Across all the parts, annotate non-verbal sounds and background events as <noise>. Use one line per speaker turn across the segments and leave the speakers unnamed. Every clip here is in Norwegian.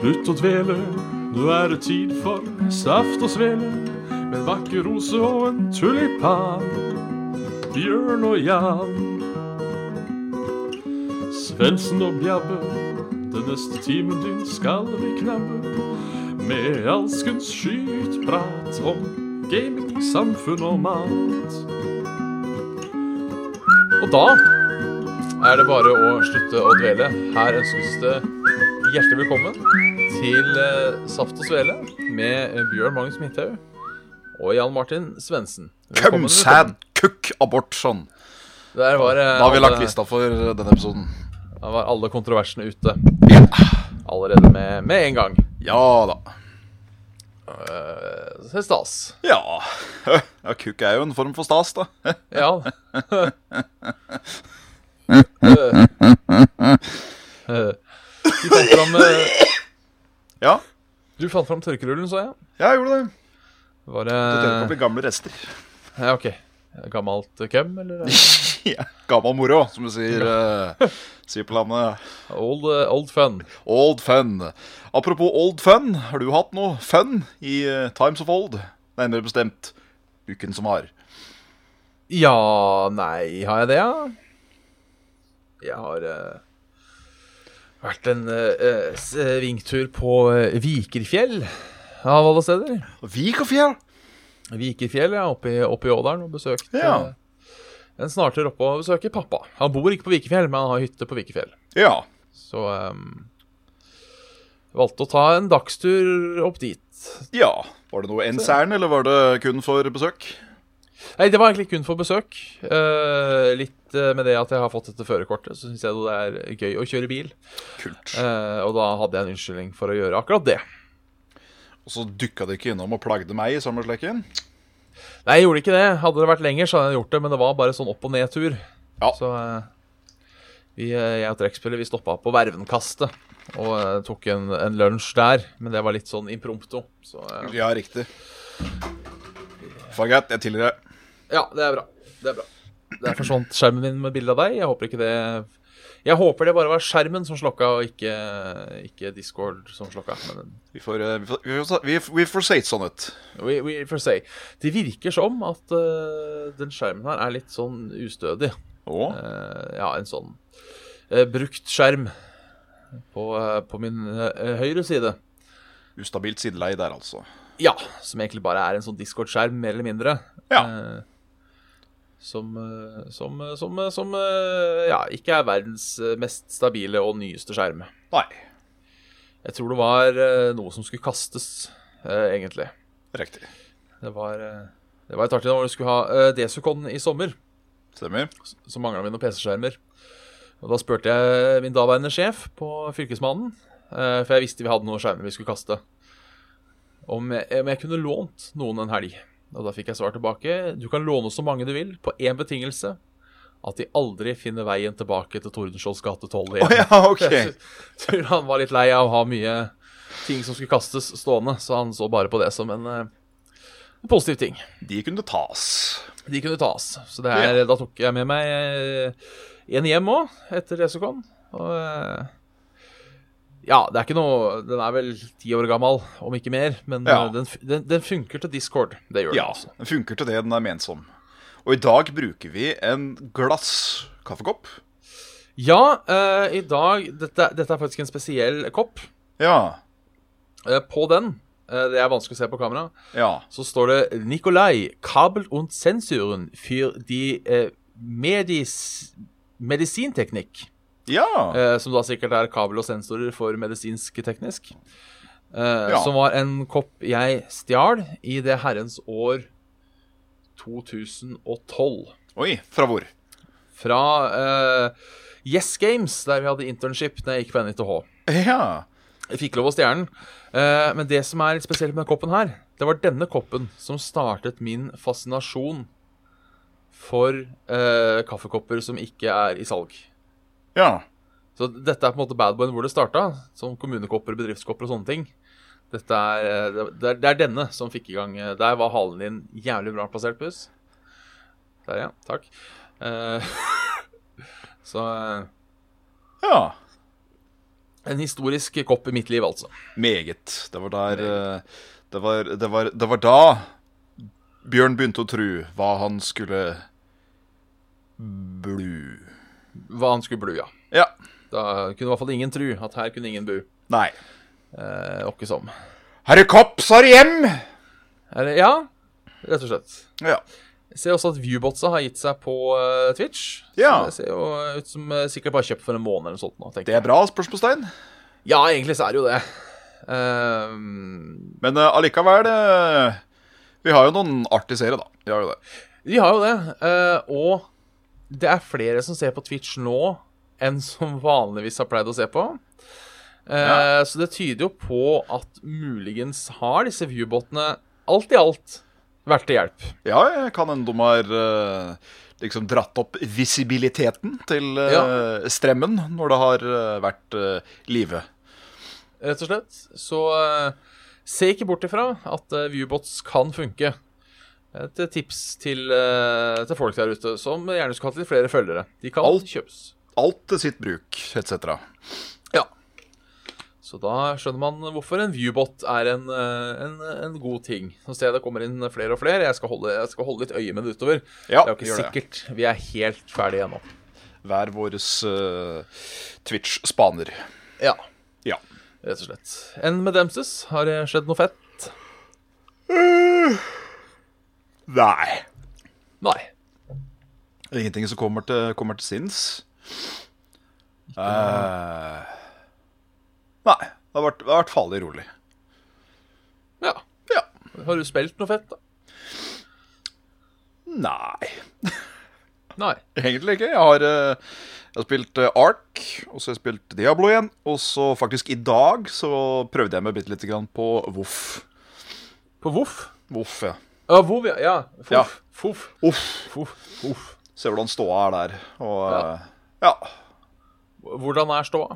Slutt å dvele, nå er det tid for saft og svele. Med en vakker rose og en tulipan. Bjørn og Jan. Svendsen og Bjabbe, den neste timen din skal vi knabbe. Med alskens skytprat om gaming, samfunn og mat.
Og da er det bare å slutte å dvele. Her ønskes det hjertelig velkommen til eh, Saft og Svele med eh, Bjørn Magnus Midthaug og Jan Martin Svendsen.
Come sad cook abortion.
Der var, eh,
Da har vi lagt
alle-
lista for eh, denne episoden.
Der var alle kontroversene ute. Allerede med, med en gang.
Ja da.
Eh, Så det er stas.
Ja. <laughs> ja Kukk er jo en form for stas, da.
Ja.
<laughs>
Eh, Du fant fram, eh,
Ja,
du fant fram tørkerullen, så jeg.
jeg gjorde det.
Var
Det tenkte på å
det
bli gamle rester.
Ja, OK. Gammelt eh, køm, eller?
<laughs> Ja. Gammal moro, som du sier, eh, sier på landet.
Old, eh, old fun.
Old fun. Apropos old fun, har du hatt noe fun i eh, Times of Old? Nærmere bestemt uken som har.
Ja, nei, har jeg det, ja? Jeg har eh, vært en eh, eh, s- eh, vingtur på eh, Vikerfjell, av alle steder.
Vik og fjell.
Vikerfjell, ja, oppe i, oppe i Ådalen, og besøkt
Ja.
eh, en snartur oppe og besøker pappa. Han bor ikke på Vikerfjell, men han har hytte på Vikerfjell.
Ja.
Så ehm, valgte å ta en dagstur opp dit.
ja. Var det noe ensærend, eller var det kun for besøk?
Nei, det var egentlig kun for besøk. Eh, litt eh, med det at jeg har fått dette førerkortet, så syns jeg det er gøy å kjøre bil.
Kult.
Eh, og da hadde jeg en unnskyldning for å gjøre akkurat det.
Og så dukka de ikke innom og plagde meg i samme slekken?
Nei, jeg gjorde ikke det. Hadde det vært lenger, så hadde jeg gjort det, men det var bare sånn opp og ned-tur.
Ja.
Så eh, vi, eh, jeg og trekkspillet vi stoppa på Vervenkastet og eh, tok en, en lunsj der. Men det var litt sånn imprompto. Så eh,
Ja, riktig. Fuck it, jeg tilgir deg.
ja, det er bra. Det er bra. Der forsvant skjermen min med bilde av deg. Jeg håper ikke det Jeg håper det bare var skjermen som slokka, og ikke, ikke Discord som slokka. Men
Vi får, eh, vi får, vi får, vi får, vi får sett sånn ut.
We, we for say. Det virker som at eh, den skjermen her er litt sånn ustødig.
Å?
Eh, ja, en sånn eh, brukt skjerm på, eh, på min eh, høyre side.
Ustabilt sideleie der, altså.
Ja, som egentlig bare er en sånn Discord-skjerm, mer eller mindre.
Ja.
Eh, som eh, som, eh, som, eh, som eh, ja, ikke er verdens eh, mest stabile og nyeste skjerm.
Nei.
Jeg tror det var eh, noe som skulle kastes, eh, egentlig.
Riktig.
Det var, eh, det var et artig når du skulle ha eh, Desicon i sommer.
Stemmer.
så mangla vi noen PC-skjermer. Og da spurte jeg min daværende sjef på Fylkesmannen, eh, for jeg visste vi hadde noen skjermer vi skulle kaste, om jeg, om jeg kunne lånt noen en helg. Og da fikk jeg svar tilbake. Du kan låne så mange du vil, på én betingelse. At de aldri finner veien tilbake til Tordenskiolds gate 12 igjen.
Å ja, ok.
<laughs> Jeg tror han var litt lei av å ha mye ting som skulle kastes stående, så han så bare på det som en eh, positiv ting.
De kunne tas.
De kunne tas. Så det er, da tok jeg med meg eh, en hjem òg, etter Resocon. Og eh, Ja, det er ikke noe Den er vel ti år gammel, om ikke mer. Men
Ja.
eh, den, f- den, den funker til Discord. Det gjør
Ja,
den. altså.
den funker til det den er ment som. Og i dag bruker vi en glass kaffekopp.
Ja, eh, i dag dette, dette er faktisk en spesiell kopp.
Ja.
Eh, på den, eh, det er vanskelig å se på kamera,
Ja.
så står det Nikolai, kabel und sensuren für die eh, medis, medisinteknikk.
Ja.
Eh, som da sikkert er kabel og sensorer for medisinsk teknisk. Eh,
Ja.
Som var en kopp jeg stjal i det herrens år 2012.
Oi, fra hvor?
Fra eh, Yes Games, der vi hadde internship da jeg gikk på NITH.
Ja.
Jeg fikk lov å stjele den. Eh, men det som er litt spesielt med den koppen her, det var denne koppen som startet min fascinasjon for eh, kaffekopper som ikke er i salg.
Ja.
Så dette er på en måte badboyen hvor det starta, som kommunekopper, bedriftskopper og sånne ting. Dette er, eh, det- det, er, det er denne som fikk i gang eh, Der var halen din jævlig bra plassert, Puss. Der, ja. Takk. <laughs> Eh, så eh,
Ja.
En historisk kopp i mitt liv, altså.
Meget. Det var der eh, det var, det, var, det var da Bjørn begynte å tru hva han skulle blu.
Hva han skulle blu, ja.
Ja.
Da kunne i hvert fall ingen tru at her kunne ingen bu.
Nei.
Eh, åkke som.
Herre Kopp, så er det hjem!
Er det, ja, rett og slett.
Ja.
Jeg ser også at Viewbotsa har gitt seg på eh, Twitch. Så
Ja.
Det ser jo ut som eh, sikkert bare kjøpt for en måned eller noe sånt. Nå, tenker
Det er bra, spørsmålstegn.
jeg. Ja, egentlig så er det jo det. Ehm,
Men eh, allikevel eh, Vi har jo noen artige seere, da. Vi har jo det.
vi har jo det. eh, og det er flere som ser på Twitch nå enn som vanligvis har pleid å se på. Eh,
Ja.
Så det tyder jo på at muligens har disse viewbotene alt i alt vært til hjelp.
Ja, jeg kan hende de har eh, liksom dratt opp visibiliteten til eh, strømmen når det har eh, vært uh, live.
rett og slett. Så eh, se ikke bort ifra at eh, viewbots kan funke. Et tips til, eh, til folk der ute som gjerne skulle hatt litt flere følgere. De kan
Alt.
kjøpes.
Alt til sitt bruk, etc.
Ja. Så da skjønner man hvorfor en viewbot er en, eh, en, en god ting. Nå ser jeg det kommer inn flere og flere. Jeg skal holde, jeg skal holde litt øye med det utover. det
Ja,
er jo ikke
gjør det.
sikkert vi er helt ferdige ennå.
Hver våres eh, Twitch-spaner.
Ja,
Ja.
rett og slett. Enn med Demses? Har det skjedd noe fett?
Nei.
Nei.
Det er ingenting som kommer til, kommer til sinns. Eh, nei. Det har vært, det har vært farlig rolig.
Ja.
Ja.
Har du spilt noe fett, da?
Nei.
Nei.
Egentlig ikke. Jeg har, eh, jeg har spilt eh, Ark, og så har jeg spilt Diablo igjen. Og så faktisk i dag så prøvde jeg meg bitte lite grann på Voff.
På Voff?
Voff, ja.
Ja, Vov, ja. ja. Foff.
Ja.
Foff.
Uff.
Foff. Foff.
Ser hvordan ståa er der. Og eh, ja.
Hvordan er ståa?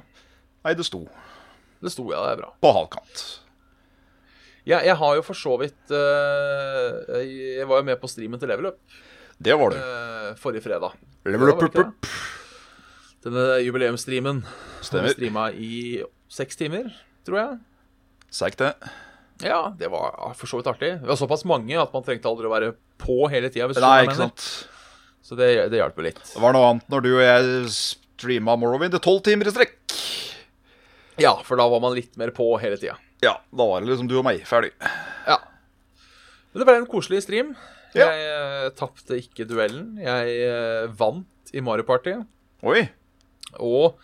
Nei, det sto
Det sto ja, det er bra.
på halvkant.
Jeg, jeg har jo for så vidt eh, jeg- Jeg var jo med på streamen til Level Up
Det var det.
eh, forrige fredag.
Level up,
Ja, var det
up,
ikke
up.
Denne jubileumsstreamen. Vi
Stemmer.
streama i seks timer, tror jeg.
Seigt, det.
Ja, det var for så vidt artig. Vi var såpass mange at man trengte aldri å være på hele tida.
Nei, ikke sant.
Så det, det hjalp jo litt.
Det var noe annet når du og jeg streama Morrowind i tolv timer i strekk.
Ja, for da var man litt mer på hele tida.
Ja, da var det liksom du og meg ferdig.
Ja. Men det ble en koselig stream.
Ja.
Jeg eh, tapte ikke duellen. Jeg eh, vant i Mario Party.
Oi.
Og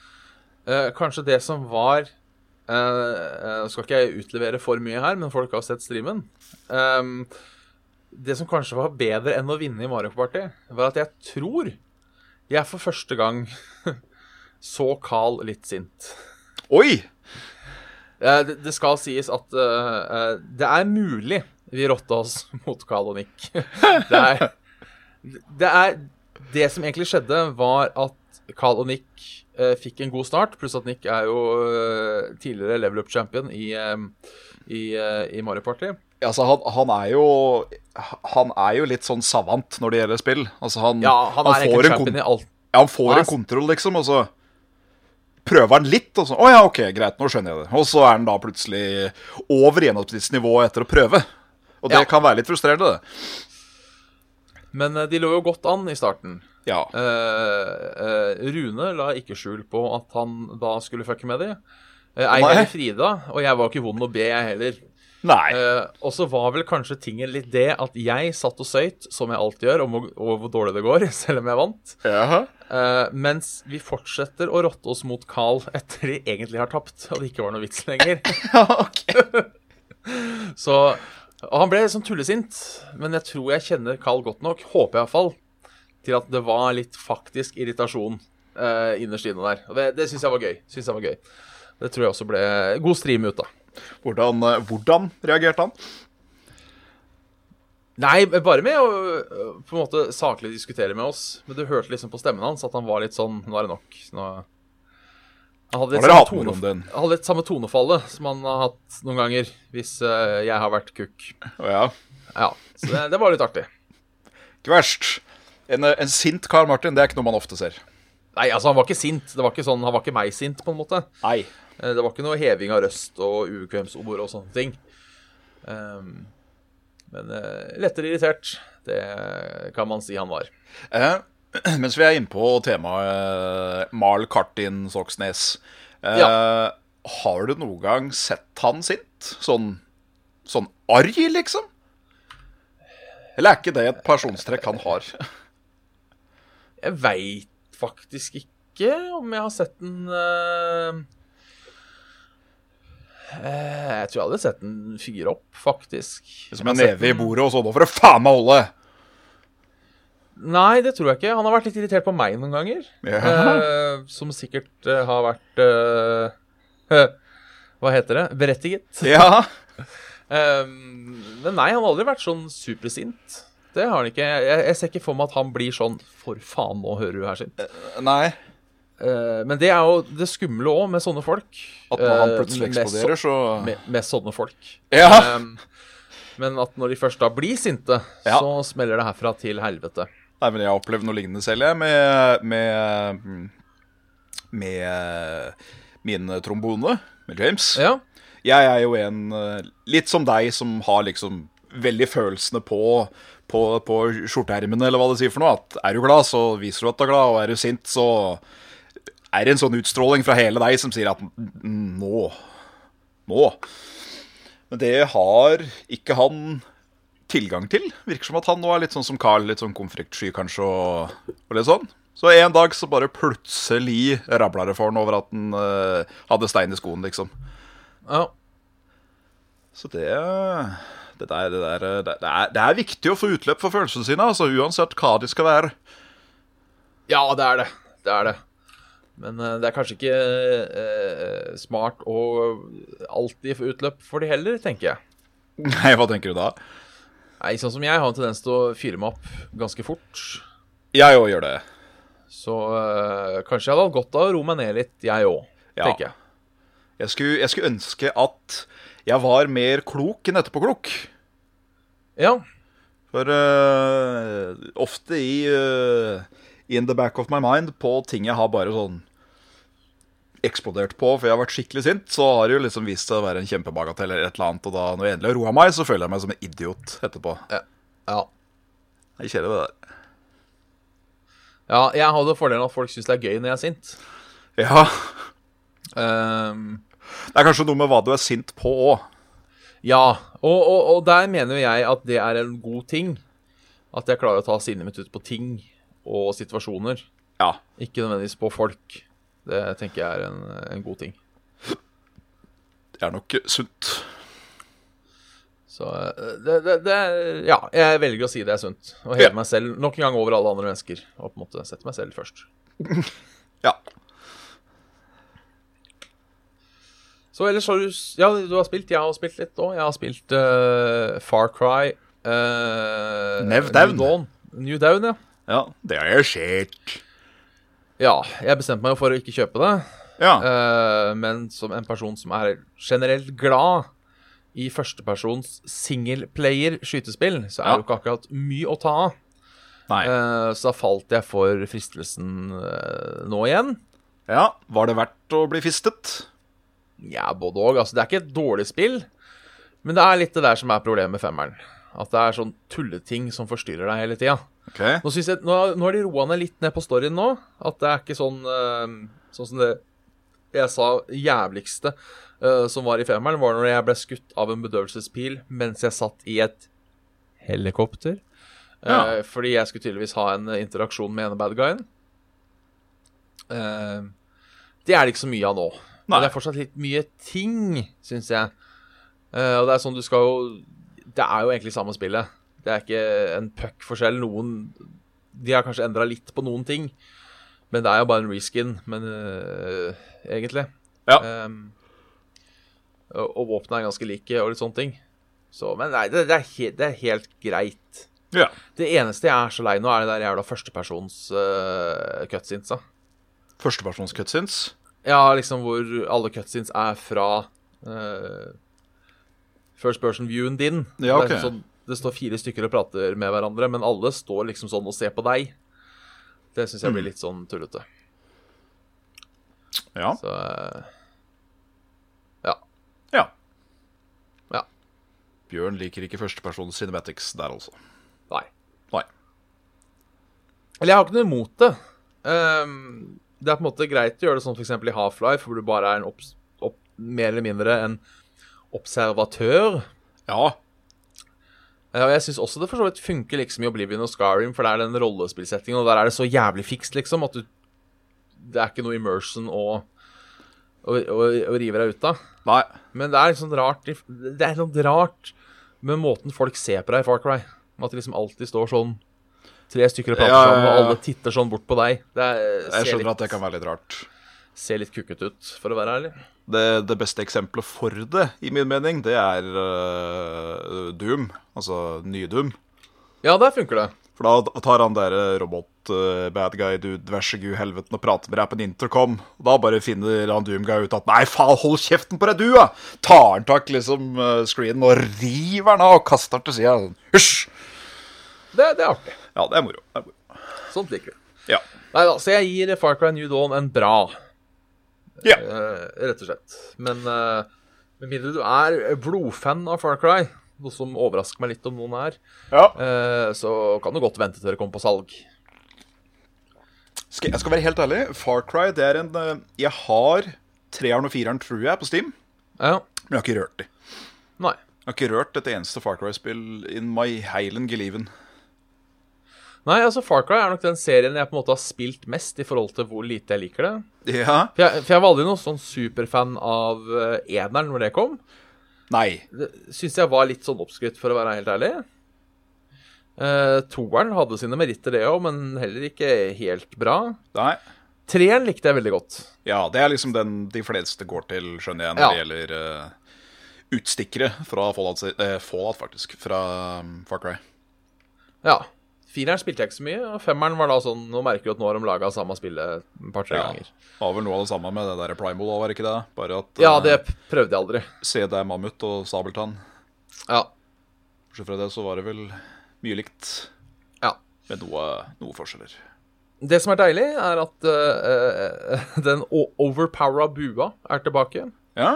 eh, kanskje det som var eh, eh, Skal ikke jeg utlevere for mye her, men folk har sett streamen. Ehm, det som kanskje var bedre enn å vinne i Mario Party, var at jeg tror jeg for første gang <laughs> så Carl litt sint.
Oi!
Eh, det, det skal sies at eh, eh, det er mulig vi rotta oss <laughs> mot Carl og Nick. det, er, det er Det som egentlig skjedde, var at Carl og Nick eh, fikk en god start, pluss at Nick er jo eh, tidligere level up-champion i, eh, i, eh, i Mario Party.
Altså, han, han er jo Han er jo litt sånn savant når det gjelder spill. Altså, han,
Ja, han, er
får,
egentlig
en,
champion
kon
i alt.
ja, han får
Han er-
en kontroll, liksom, og så prøver han litt, og så Å ja, OK, greit, nå skjønner jeg det. Og så er han da plutselig over gjennomsnittsnivået etter å prøve. Og det
Ja.
kan være litt frustrerende, det.
Men eh, de lå jo godt an i starten.
Ja.
Eh, eh, Rune la ikke skjul på at han da skulle fucke med de. Eh, Ei
Nei.
heller Frida, og jeg var ikke vond å be, jeg heller.
Nei.
Eh, og så var vel kanskje tingen litt det at jeg satt og søyt, som jeg alltid gjør, om, hvor- over hvor dårlig det går, <laughs> selv om jeg vant.
Jaha.
Eh, mens vi fortsetter å rotte oss mot Carl etter de egentlig har tapt, og det ikke var noe vits lenger.
<laughs> Ja, ok.
<laughs> Så og han ble liksom tullesint, men jeg tror jeg kjenner Carl godt nok, håper jeg iallfall, til at det var litt faktisk irritasjon eh, innerst inne der. Og det, det syns jeg var gøy. Synes jeg var gøy. Det tror jeg også ble god stream ut av.
Hvordan, eh, hvordan reagerte han?
Nei, men bare med å ø, på en måte saklig diskutere med oss. Men du hørte liksom på stemmen hans at han var litt sånn Nå er det nok. Nå... Han hadde litt,
Har dere hatt
samme
moro om
tonef-
den?
han hadde litt samme tonefallet som han har hatt noen ganger hvis ø, jeg har vært kukk.
Å ja.
Ja, Så det, det var litt artig.
Ikke verst. En, eh, en sint Karl Martin, det er ikke noe man ofte ser.
Nei, altså, han var ikke sint. Det var ikke sånn, Han var ikke meg sint, på en måte.
Nei.
Eh, Det var ikke noe heving av røst og ubekvemsord og sånne ting. Ehm, men eh, lettere irritert, det kan man si han var.
Eh, <clears throat> mens vi er inne på temaet eh, Mal Kartin Soksnes eh, Har du noen gang sett han sint? Sånn, sånn arg, liksom? Eller er ikke det et personstrekk han
<laughs>
har?
Jeg veit faktisk ikke om jeg har sett den eh, eh, Jeg tror jeg hadde sett den fyre opp, faktisk.
Som en
Jeg har sett
neve i bordet og sånn, nå får du faen meg holde!
den- Nei, det tror jeg ikke. Han har vært litt irritert på meg noen ganger.
Ja.
Eh, som sikkert eh, har vært eh, Hva heter det? Berettiget.
ja.
Ehm, men nei, han har aldri vært sånn supersint. Det har han ikke. Jeg, jeg ser ikke for meg at han blir sånn 'for faen, nå hører du her sin'.
Nei.
Eh, men det er jo det skumle òg med sånne folk.
At når han
Eh,
plutselig
med så-
eksploderer, så
Med, med sånne folk.
Ja.
Ehm, men at når de først da blir sinte,
Ja.
så smeller det herfra til helvete.
Nei, men jeg har opplevd noe lignende selv, jeg, med, med, mm, med eh, min trombone, med James.
Ja.
Jeg er jo en eh, litt som deg som har liksom veldig følelsene på, på, på skjorteermene, eller hva det sier for noe. At er du glad, så viser du at du er glad, og er du sint, så er det en sånn utstråling fra hele deg som sier at "N- nå Nå. Men det har ikke han tilgang til. Virker som at han nå er litt sånn som Carl, litt sånn konfliktsky kanskje, og, og litt sånn. Så en dag så bare plutselig rabla det for han over at han eh, hadde stein i skoen, liksom.
ja.
Så det det, der, det, der, det, det, er, det er viktig å få utløp for følelsene sine, altså, uansett hva de skal være. <laughs>
Ja, det er det. Det er det. Men eh, det er kanskje ikke eh, smart å alltid få utløp for de heller, tenker jeg.
Nei, hva tenker du da?
Nei, sånn som jeg har en tendens til å fyre meg opp ganske fort.
Jeg òg gjør det.
Så eh, kanskje jeg hadde hatt godt av å roe meg ned litt, jeg òg,
Ja.
tenker jeg.
Jeg skulle, jeg skulle ønske at jeg var mer klok enn etterpåklok.
Ja.
For eh, ofte i eh, in the back of my mind på ting jeg har bare sånn eksplodert på, for jeg har vært skikkelig sint, så har det jo liksom vist seg å være en kjempebagatell eller et eller annet, og da når jeg endelig har roa meg, så føler jeg meg som en idiot etterpå.
ja.
Jeg kjenner det der.
Ja, jeg har det fordelen at folk syns det er gøy når jeg er sint.
Ja,
Ehm,
Det er kanskje noe med hva du er sint på òg.
ja. Og, og, og der mener jo jeg at det er en god ting. At jeg klarer å ta sinnet mitt ut på ting og situasjoner.
Ja.
Ikke nødvendigvis på folk. Det tenker jeg er en, en god ting.
Det er nok sunt.
Så eh, det, det, det er- Ja, jeg velger å si det er sunt. Og heve
Ja.
meg selv nok en gang over alle andre mennesker. Og på en måte sette meg selv først.
Ja.
Så ellers har du s- Ja, du har spilt. Jeg har spilt litt òg. Jeg har spilt eh, Far Cry eh,
Nev Down.
New Dawn. New Down, ja.
ja. Det har jeg sett.
Ja, jeg bestemte meg jo for å ikke kjøpe det.
Ja.
Eh, men som en person som er generelt glad i førstepersons singleplayer-skytespill, så er
Ja.
det jo ikke akkurat mye å ta av.
Nei.
Eh, så da falt jeg for fristelsen eh, nå igjen.
Ja. Var det verdt å bli fistet?
Ja, både òg. Altså, det er ikke et dårlig spill, men det er litt det der som er problemet med femmeren. At det er sånn tulleting som forstyrrer deg hele tida.
Ok.
Nå, synes jeg- nå, nå har de roa ned litt ned på storyen nå. At det er ikke sånn eh, Sånn som det jeg sa jævligste eh, som var i femmeren, var når jeg ble skutt av en bedøvelsespil mens jeg satt i et helikopter. Eh,
Ja.
fordi jeg skulle tydeligvis ha en eh, interaksjon med ene bad guyen. Eh, det er det ikke så mye av nå.
Nei.
Men det er fortsatt litt mye ting, syns jeg. Eh, og det er sånn du skal jo Det er jo egentlig samme spillet. Det er ikke en puck-forskjell. Noen De har kanskje endra litt på noen ting, men det er jo bare en reskin, men eh, egentlig.
Ja.
Ehm, og og våpnene er ganske like og litt sånne ting. Så, men nei, det, det, er he, det er helt greit.
Ja.
Det eneste jeg er så lei nå, er det der jævla førstepersons uh, cutscenesa.
Førstepersons cutscenes.
Ja, liksom hvor alle cutscenes er fra eh, first person-viewen din.
Ja,
det, er
ok.
sånn, det står fire stykker og prater
Mm.
med hverandre, men alle står liksom sånn og ser på deg. Det syns jeg blir litt sånn tullete.
Ja.
Så eh, Ja.
ja.
Ja.
Bjørn liker ikke førstepersons cinematics der, altså.
Nei.
Nei.
Eller jeg har ikke noe imot det. Ehm, det er på en måte greit å gjøre det sånn f.eks. i Half-Life, hvor du bare er en obs- opp, mer eller mindre en observatør.
Ja.
Ja, og jeg syns også det for så vidt funker liksom i Oblivion og Skyrim, for det er den rollespillsettingen, og der er det så jævlig fikst, liksom, at du Det er ikke noe immersion å, å, å, å rive deg ut av.
Nei.
Men det er liksom rart i- Det er sånn rart med måten folk ser på deg i Far Cry. Med At det liksom alltid står sånn tre stykker og prater
Ja, ja,
sammen, og
ja.
alle titter sånn bort på deg. Det er,
Jeg
ser,
skjønner at
litt,
det kan være litt rart.
ser litt kukket ut, for å være ærlig.
Det, det beste eksempelet for det, i min mening, det er øh, Doom. Altså ny-Doom.
Ja, der funker det.
For da tar han der eh, robot-bad guy du vær så god helveten og prater med deg på en intercom. Og da bare finner han Doomguy ut at Nei, faen, hold kjeften på deg, du, da! Tar han tak liksom øh, screenen og river den av og kaster den til sida. Sånn, Hysj!
Det, det er artig.
Ja, det er moro. Det er moro.
Sånt liker vi.
Ja.
Nei da, så jeg gir Far Cry New Dawn en bra,
ja.
eh, rett og slett. Men eh, med mindre du er blodfan av Far Cry, noe som overrasker meg litt om noen er,
ja.
eh, så kan du godt vente til det kommer på salg.
Skal, jeg skal være helt ærlig. Far Cry det er en eh, Jeg har treeren og fireren, tror jeg, på Steam.
Ja.
Men jeg har ikke rørt de.
Nei.
Jeg har ikke rørt et eneste Far Cry-spill in my heilen geliven.
Nei, altså Far Cry er nok den serien jeg på en måte har spilt mest i forhold til hvor lite jeg liker det.
Ja?
For jeg, for jeg var aldri noen sånn superfan av eh, eneren når det kom.
Nei.
Det Syns jeg var litt sånn oppskrytt, for å være helt ærlig. Eh, toeren hadde sine meritter, det òg, men heller ikke helt bra.
Nei.
Treeren likte jeg veldig godt.
Ja, det er liksom den de fleste går til, skjønner jeg, når
Ja.
det gjelder eh, utstikkere fra Fallout, se- eh, Fallout faktisk. Fra um, Far Cry.
Ja. Fireren spilte jeg ikke så mye, og femmeren var da sånn Nå merker du at nå har de laga samme spillet et par-tre
Ja.
ganger.
Har vel noe av det samme med det der Primal, var det ikke det? Bare at
Ja,
eh,
det p- prøvde jeg aldri.
se det er mammut og sabeltann.
Ja.
Bortsett fra det så var det vel mye likt,
ja.
med noe, noe forskjeller.
Det som er deilig, er at eh, eh, <laughs> den o- overpowera bua er tilbake.
Ja.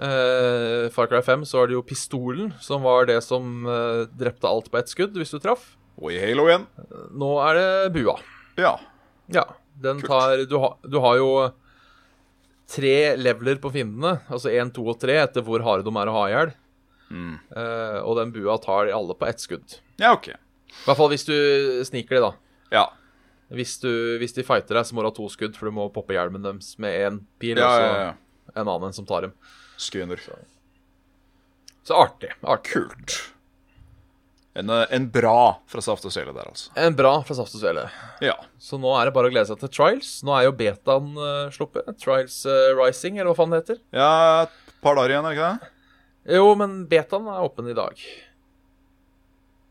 Uh, Far Cry 5 så er det jo pistolen som var det som eh, drepte alt på ett skudd, hvis du traff.
Og i Halo igjen.
Nå er det bua.
Ja.
Ja. Den tar du, ha, du har jo tre leveler på fiendene, altså én, to og tre, etter hvor harde de er å ha i hjel.
Mm.
Eh, og den bua tar de alle på ett skudd.
Ja, OK.
I hvert fall hvis du sniker de, da.
Ja.
Hvis, du, hvis de fighter deg, så må du ha to skudd, for du må poppe hjelmen deres med én pil.
Ja,
og så-
ja, ja.
en annen som tar dem.
Skøyner.
Så artig. artig.
Kult. En, eh, en bra fra Saft og Sele der, altså.
En bra fra Saft og Svele.
Ja.
Så nå er det bare å glede seg til Trials. Nå er jo betaen eh, sluppet. Trials eh, Rising, eller hva faen det heter.
ja et par dager igjen, er det ikke det?
Jo, men betaen er åpen i dag.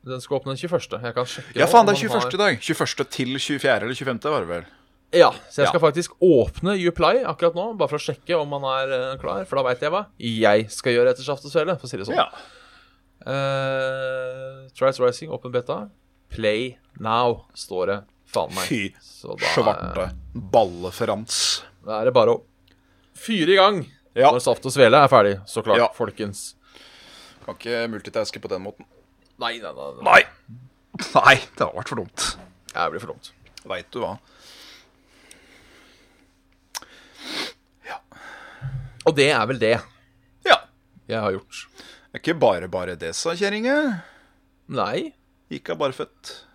Den skal åpne den 21. Jeg kan sjekke
Ja,
nå
faen, det er
om man
21. i dag. 21. til 24. eller 25. var det vel.
Har... Ja, så jeg
Ja.
skal faktisk åpne Uplay akkurat nå, bare for å sjekke om man er eh, klar. For da veit jeg hva jeg skal gjøre etter Saft og Svele, for å si det sånn.
Ja.
Eh, Trials Rising, åpen beta. Play now, står det. Faen meg.
Fy
Så da-
svarte balleferans.
Da er det bare å fyre i gang
Ja.
når Saft og Svele er ferdig, så klart,
Ja.
folkens.
Kan ikke multitaske på den måten.
Nei, nei, nei, nei.
Nei. Nei, det har vært for dumt.
Det blir for dumt.
Veit du hva.
Og det er vel det
Ja.
jeg har gjort.
Det er ikke bare bare det, sa kjerringa.
Nei.
Ikke er bare født.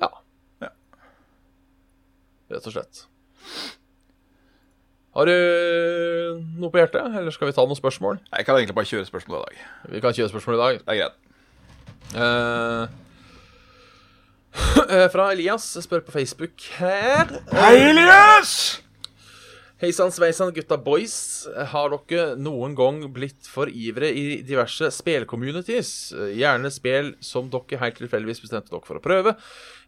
Ja.
Ja.
Rett og slett. Har du noe på hjertet, eller skal vi ta noen spørsmål?
Nei, Jeg kan egentlig bare kjøre spørsmål i dag.
Vi kan kjøre spørsmål i dag.
Det er greit.
Eh, <laughs> eh, fra Elias jeg spør på Facebook her.
Hei, Elias!
Hei sann, sveisann, gutta boys. Har dere noen gang blitt for ivre i diverse spelcommunities? Gjerne spel som dere helt tilfeldigvis bestemte dere for å prøve.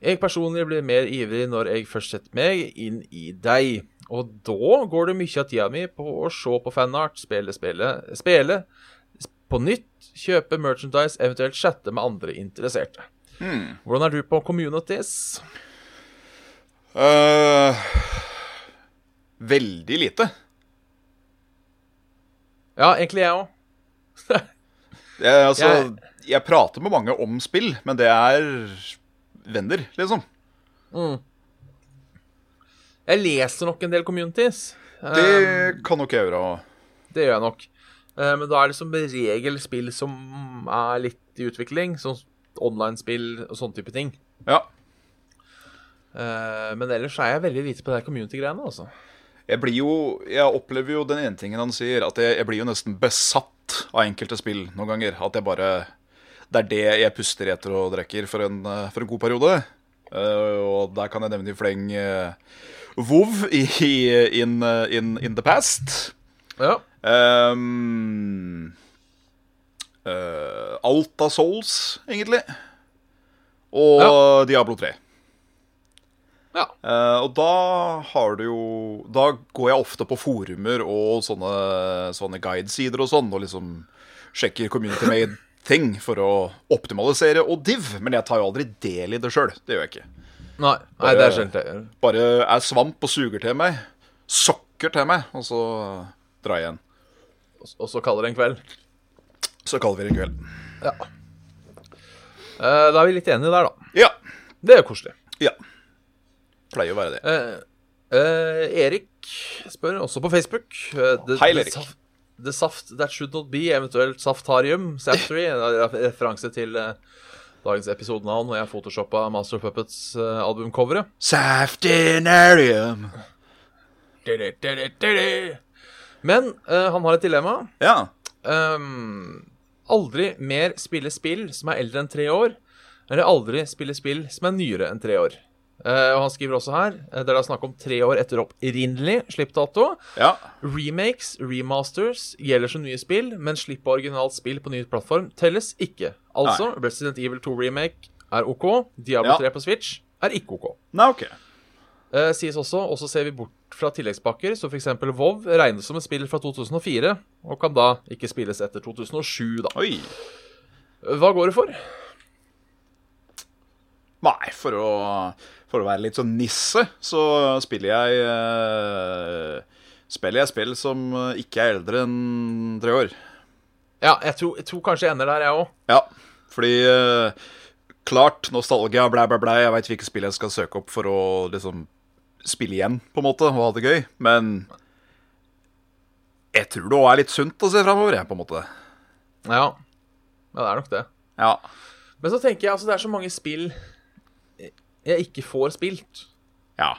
Jeg personlig blir mer ivrig når jeg først setter meg inn i deg. Og da går det mye av tida mi på å se på fanart, spille, spille, spille på nytt, kjøpe merchandise, eventuelt chatte med andre interesserte. Hvordan er du på communities?
Eh, veldig lite.
Ja, egentlig jeg òg.
Jeg, altså,
Jeg-
jeg... prater med mange om spill, men det er venner, liksom.
Jeg leser nok en del communities. Eh,
Det kan nok jeg gjøre.
det gjør jeg nok. Eh, men da er det som regel spill som er litt i utvikling. Sånn online-spill og sånne type ting.
Ja.
Eh, men ellers er jeg veldig lite på det her community-greiene, altså.
Jeg blir jo Jeg opplever jo den ene tingen han sier, at jeg, jeg blir jo nesten besatt av enkelte spill noen ganger. At jeg bare Det er det jeg puster etter og drikker for en, eh, for en god periode. Eh, og der kan jeg nevne i fleng eh, WoW i, i in, eh, in, in the past. Eh,
Ja.
Um, eh, Alta Souls, egentlig. Og Diablo 3.
ja.
Eh, og da har du jo Da går jeg ofte på forumer og sånne, sånne guidesider og sånn, og liksom sjekker community made ting for å optimalisere og div, men jeg tar jo aldri del i det sjøl. Det gjør jeg ikke.
Nei, nei, det er sjelden jeg gjør.
Bare er svamp og suger til meg. Sokker til meg, og så drar jeg igjen.
Og- Og så kaller det en kveld.
Så kaller vi det en kveld.
Ja. Eh, da er vi litt enige der, da.
Ja.
Det er jo koselig.
Ja. Pleier å være det.
Eh, eh, Erik spør også på Facebook. eh, the,
Hei, Erik.
The saft, the saft that should not be, eventuelt Saftarium, Saptory. en re- referanse til eh, dagens episodenavn, og jeg photoshoppa Master of Puppets uh, albumcoveret.
Saftinarium.
Men eh, han har et dilemma.
Ja.
Ehm, aldri mer spille spill som er eldre enn tre år, eller aldri spille spill som er nyere enn tre år. Eh, og han skriver også her, eh, der det er snakk om tre år etter opprinnelig slippdato.
Ja.
Remakes, remasters gjelder som nye spill, men slipp av originalt spill på ny plattform telles ikke. Altså, Resident Evil 2 Remake er OK, Diablo
Ja.
3 på Switch er ikke OK.
Nei, OK.
Eh, sies også, og så ser vi bort fra tilleggspakker, så f.eks. WoW regnes som et spill fra 2004, og kan da ikke spilles etter 2007, da.
Oi.
Hva går det for?
Nei, for å, for å være litt sånn nisse, så spiller jeg eh, Spiller jeg spill som eh, ikke er eldre enn tre år.
Ja, jeg tror, jeg tror kanskje jeg ender der, jeg òg.
Ja, fordi eh, Klart, nostalgia, blæ, blæ, blæ. Jeg veit hvilke spill jeg skal søke opp for å liksom spille igjen, på en måte, og ha det gøy. Men jeg tror det òg er litt sunt å se framover, jeg, på en måte.
Ja. ja, det er nok det.
Ja.
Men så tenker jeg altså, det er så mange spill jeg ikke får spilt.
ja.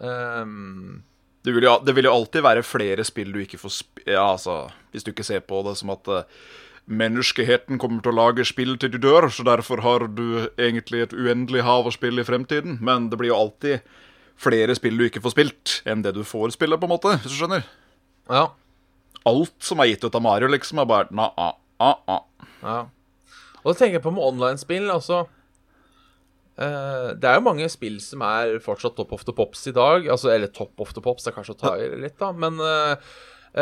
Ehm,
Det vil, jo, det vil jo alltid være flere spill du ikke får sp... Ja, altså, hvis du ikke ser på det som at eh, menneskeheten kommer til å lage spill til du dør, så derfor har du egentlig et uendelig hav av spill i fremtiden. Men det blir jo alltid flere spill du ikke får spilt, enn det du får spille, på en måte, hvis du skjønner.
ja.
Alt som er gitt ut av Mario, liksom, er bare ah, na, a, a, a.
Ja. Og så tenker jeg på med online-spill, altså. eh, det er jo mange spill som er fortsatt top of the pops i dag. Altså, eller top of the pops, det er kanskje å ta i litt, da. Men eh,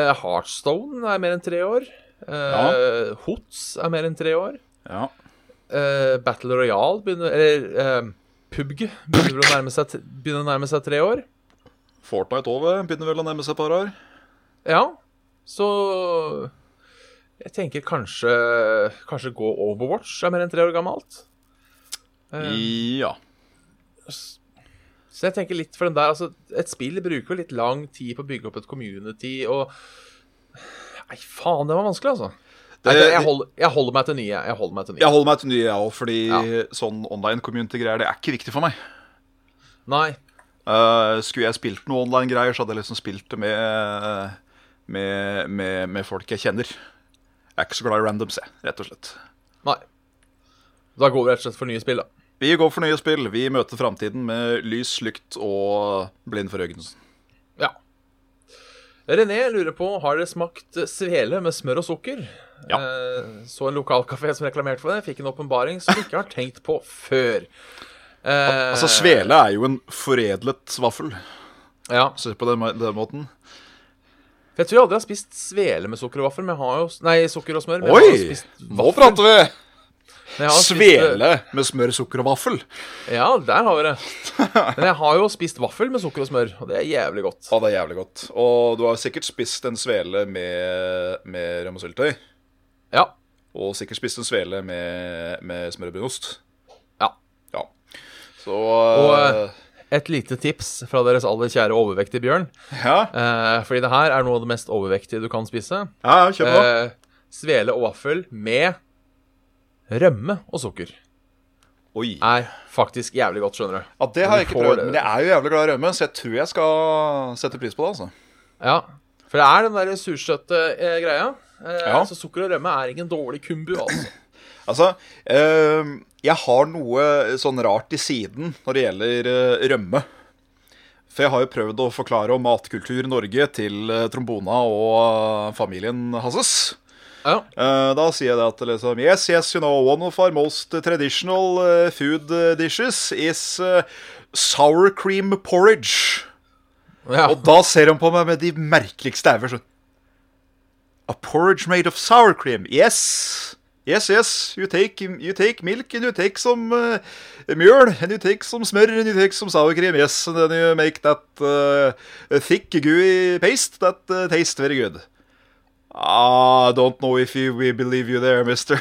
eh, Heartstone er mer enn tre år. Eh, Hots er mer enn tre år.
Ja.
Eh, Battle Royale begynner Eller eh, PubG begynner å nærme seg, t- begynner å nærme seg tre år.
Fortnite over begynner vel å nærme seg et par år.
Ja, så Jeg tenker kanskje Kanskje gå Overwatch er mer enn tre år gammelt. Eh,
Ja.
Så jeg tenker litt for den der Altså, et spill bruker jo litt lang tid på å bygge opp et community, og Nei, faen, det var vanskelig, altså. Nei,
Det-
jeg, holder, jeg holder meg til nye. jeg. Jeg holder meg til nye.
Jeg holder meg til nye, jeg òg, fordi
Ja.
sånn online community-greier, det er ikke viktig for meg.
Nei.
Eh, skulle jeg spilt noe online-greier, så hadde jeg liksom spilt det med, med, med, med folk jeg kjenner. Jeg er ikke så glad i randoms, jeg, rett og slett.
Nei. Da går vi rett og slett for nye spill, da.
Vi går for nye spill. Vi møter framtiden med lys, lykt og blind for øynene.
Ja. René lurer på har dere smakt svele med smør og sukker.
Ja.
Eh, så en lokalkafé som reklamerte for det. Fikk en åpenbaring som vi ikke har tenkt på før. Eh,
Altså, svele er jo en foredlet vaffel.
Ja.
Se på den, den måten.
For Jeg tror jeg aldri har spist svele med sukker og vaffel. Men jeg har jo, nei, sukker og smør. Men jeg har
Oi!
jo spist
Nå prater vi!
Men jeg har spist, eh,
Svele med smør, sukker og vaffel.
Ja, der har vi det. Men jeg har jo spist vaffel med sukker og smør, og det er jævlig godt.
Ja, det er jævlig godt. Og du har sikkert spist en svele med, med rømmesyltetøy.
Ja.
Og sikkert spist en svele med, med smør og brunost.
ja.
Ja. Så
Og,
eh,
Et lite tips fra deres aller kjære overvektige bjørn.
ja.
Eh, fordi det her er noe av det mest overvektige du kan spise.
ja, kjør på.
Eh, svele og vaffel med rømme og sukker
Oi.
er faktisk jævlig godt, skjønner du.
Ja, det har jeg
du
ikke
får
prøvd,
det.
men jeg er jo jævlig glad i rømme, så jeg tror jeg skal sette pris på det. altså.
Ja. For det er den der sursøte eh, greia. Eh,
Ja.
Så sukker og rømme er ikke en dårlig kumbu, altså.
Altså, eh, jeg har noe sånn rart i siden når det gjelder eh, rømme. For jeg har jo prøvd å forklare om matkultur i Norge til eh, trombona og eh, familien Hasses.
Ja.
Eh, da sier jeg det at liksom Yes, yes, you know, one of our most traditional eh, food eh, dishes is eh, sour cream porridge.
ja.
Og da ser han på meg med de merkeligste øyne sånn A porridge made of sour cream. Yes. Yes, yes. You take, you take milk and you take some uh, mjøl and you take some smør and you take some sour cream. Yes, and then you make that uh, thick gooey paste that uh, tastes very good. Ah, don't know if you, we believe you there, mister.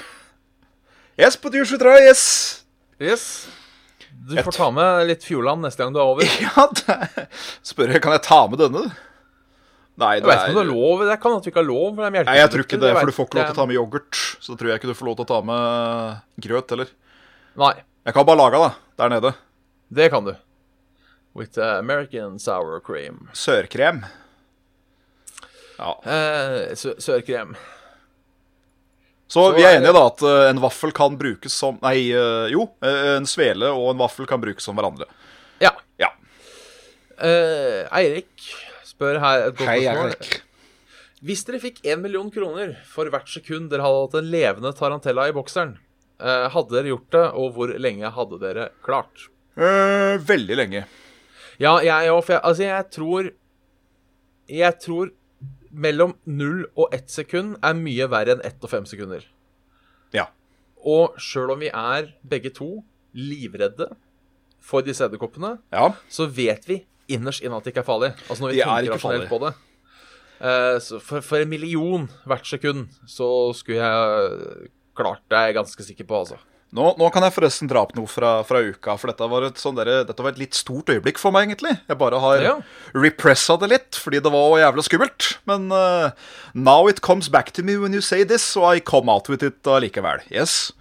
Yes, but you should try, yes. <laughs>
Yes. Du får ta med litt Fjordland neste gang du er over.
Ja, <laughs> det Spør jeg, kan jeg ta med denne? Nei,
Jeg vet ikke om det er lov. Det kan at vi ikke har lov. For det er
Nei, jeg tror ikke det, for du får ikke lov til å ta
med
med yoghurt. Så tror jeg ikke du får lov til å ta med grøt heller.
Nei,
Jeg kan bare lage det der nede.
det kan du. With eh, American sour cream.
Sørkrem. Ja.
Eh, sø sørkrem.
Så vi er enige da at eh, en vaffel kan brukes som Nei, eh, jo. eh, En svele og en vaffel kan brukes som hverandre.
Ja.
Ja.
Eh, Eirik spør her et godt
Hei,
spørsmål.
Eirik.
Hvis dere fikk én million kroner for hvert sekund dere hadde hatt en levende tarantella i bokseren, eh, hadde dere gjort det, og hvor lenge hadde dere klart?
Eh, veldig lenge.
Ja, jeg òg, for jeg, altså, jeg tror Jeg tror mellom null og ett sekund er mye verre enn ett og fem sekunder.
Ja.
Og sjøl om vi er begge to livredde for disse edderkoppene,
Ja.
så vet vi innerst inne at det ikke er farlig. Altså når vi
Det er
tenker
ikke
rasjonelt
farlig.
på det. Eh, så for, for en million hvert sekund så skulle jeg eh, klart det, er jeg ganske sikker på, altså.
Nå, nå kan jeg forresten dra opp noe fra, fra uka, for dette var, et sånn derre- dette var et litt stort øyeblikk for meg, egentlig. Jeg bare har
Ja.
repressa det litt, fordi det var jævla skummelt. Men eh, now it comes back to me when you say this, so I come out with it allikevel. Yes.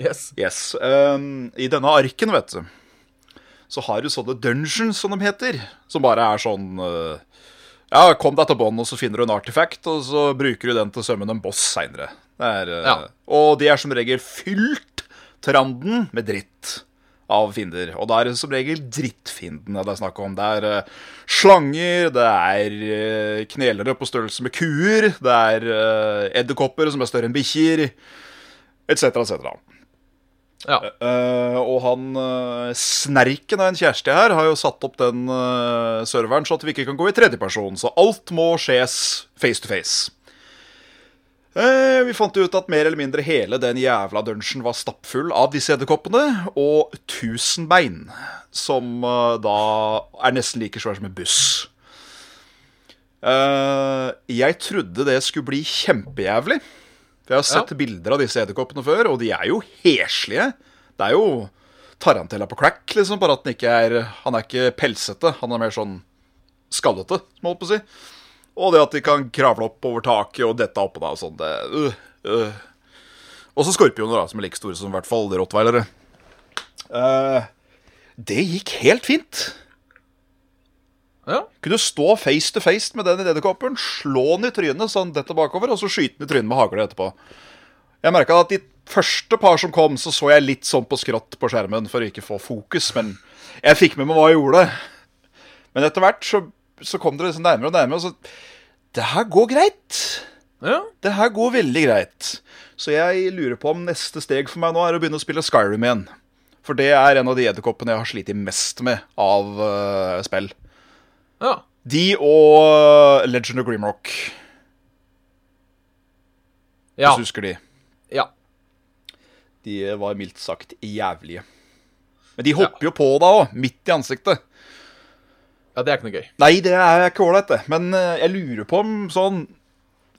Yes.
yes. Ehm, I denne arken, vet du, så har du sånne dungeons, som de heter, som bare er sånn eh, Ja, kom deg til bånn, og så finner du en artifact, og så bruker du den til å sømme en boss seinere.
Ja.
eh, Og de er som regel fylt til randen med dritt av fiender. Og da er det som regel drittfiendene det er snakk om. Det er eh, slanger, det er eh, knelere på størrelse med kuer, det er eh, edderkopper som er større enn bikkjer, etc., etc.
Ja.
Eh, og han eh, snerken av en kjæreste her har jo satt opp den eh, serveren så at vi ikke kan gå i tredjeperson, så alt må skjes face to face. Eh, vi fant ut at mer eller mindre hele den jævla dungeon var stappfull av disse edderkoppene, og tusenbein, som eh, da er nesten like svær som en buss. Eh, jeg trodde det skulle bli kjempejævlig. For jeg har sett
Ja.
bilder av disse edderkoppene før, og de er jo heslige. Det er jo tarantella på crack, liksom, bare at den ikke er Han er ikke pelsete, han er mer sånn skallete, som jeg holdt på å si. Og det at de kan kravle opp over taket og dette oppå deg og sånn, det øh, øh. Også skorpioner, da, som er like store som i hvert fall rottweilere. Eh, det gikk helt fint.
ja.
Kunne stå face to face med den edderkoppen, slå den i trynet så han detter bakover, og så skyte den i trynet med hagle etterpå. Jeg merka at de første par som kom, så så jeg litt sånn på skrått på skjermen for å ikke få fokus, men jeg fikk med meg hva jeg gjorde. Men etter hvert så, så kom dere liksom nærmere og nærmere, og så Det her går greit.
ja.
Det her går veldig greit. Så jeg lurer på om neste steg for meg nå er å begynne å spille Skyrim igjen. For det er en av de edderkoppene jeg har slitt mest med av eh, spill.
ja.
De og Legend of Grimrock, hvis
Ja.
du husker de.
ja.
De var mildt sagt jævlige. Men de hopper jo på deg òg, midt i ansiktet.
Ja, det er ikke noe gøy.
Nei, det er ikke ålreit, det. Men eh, jeg lurer på om sånn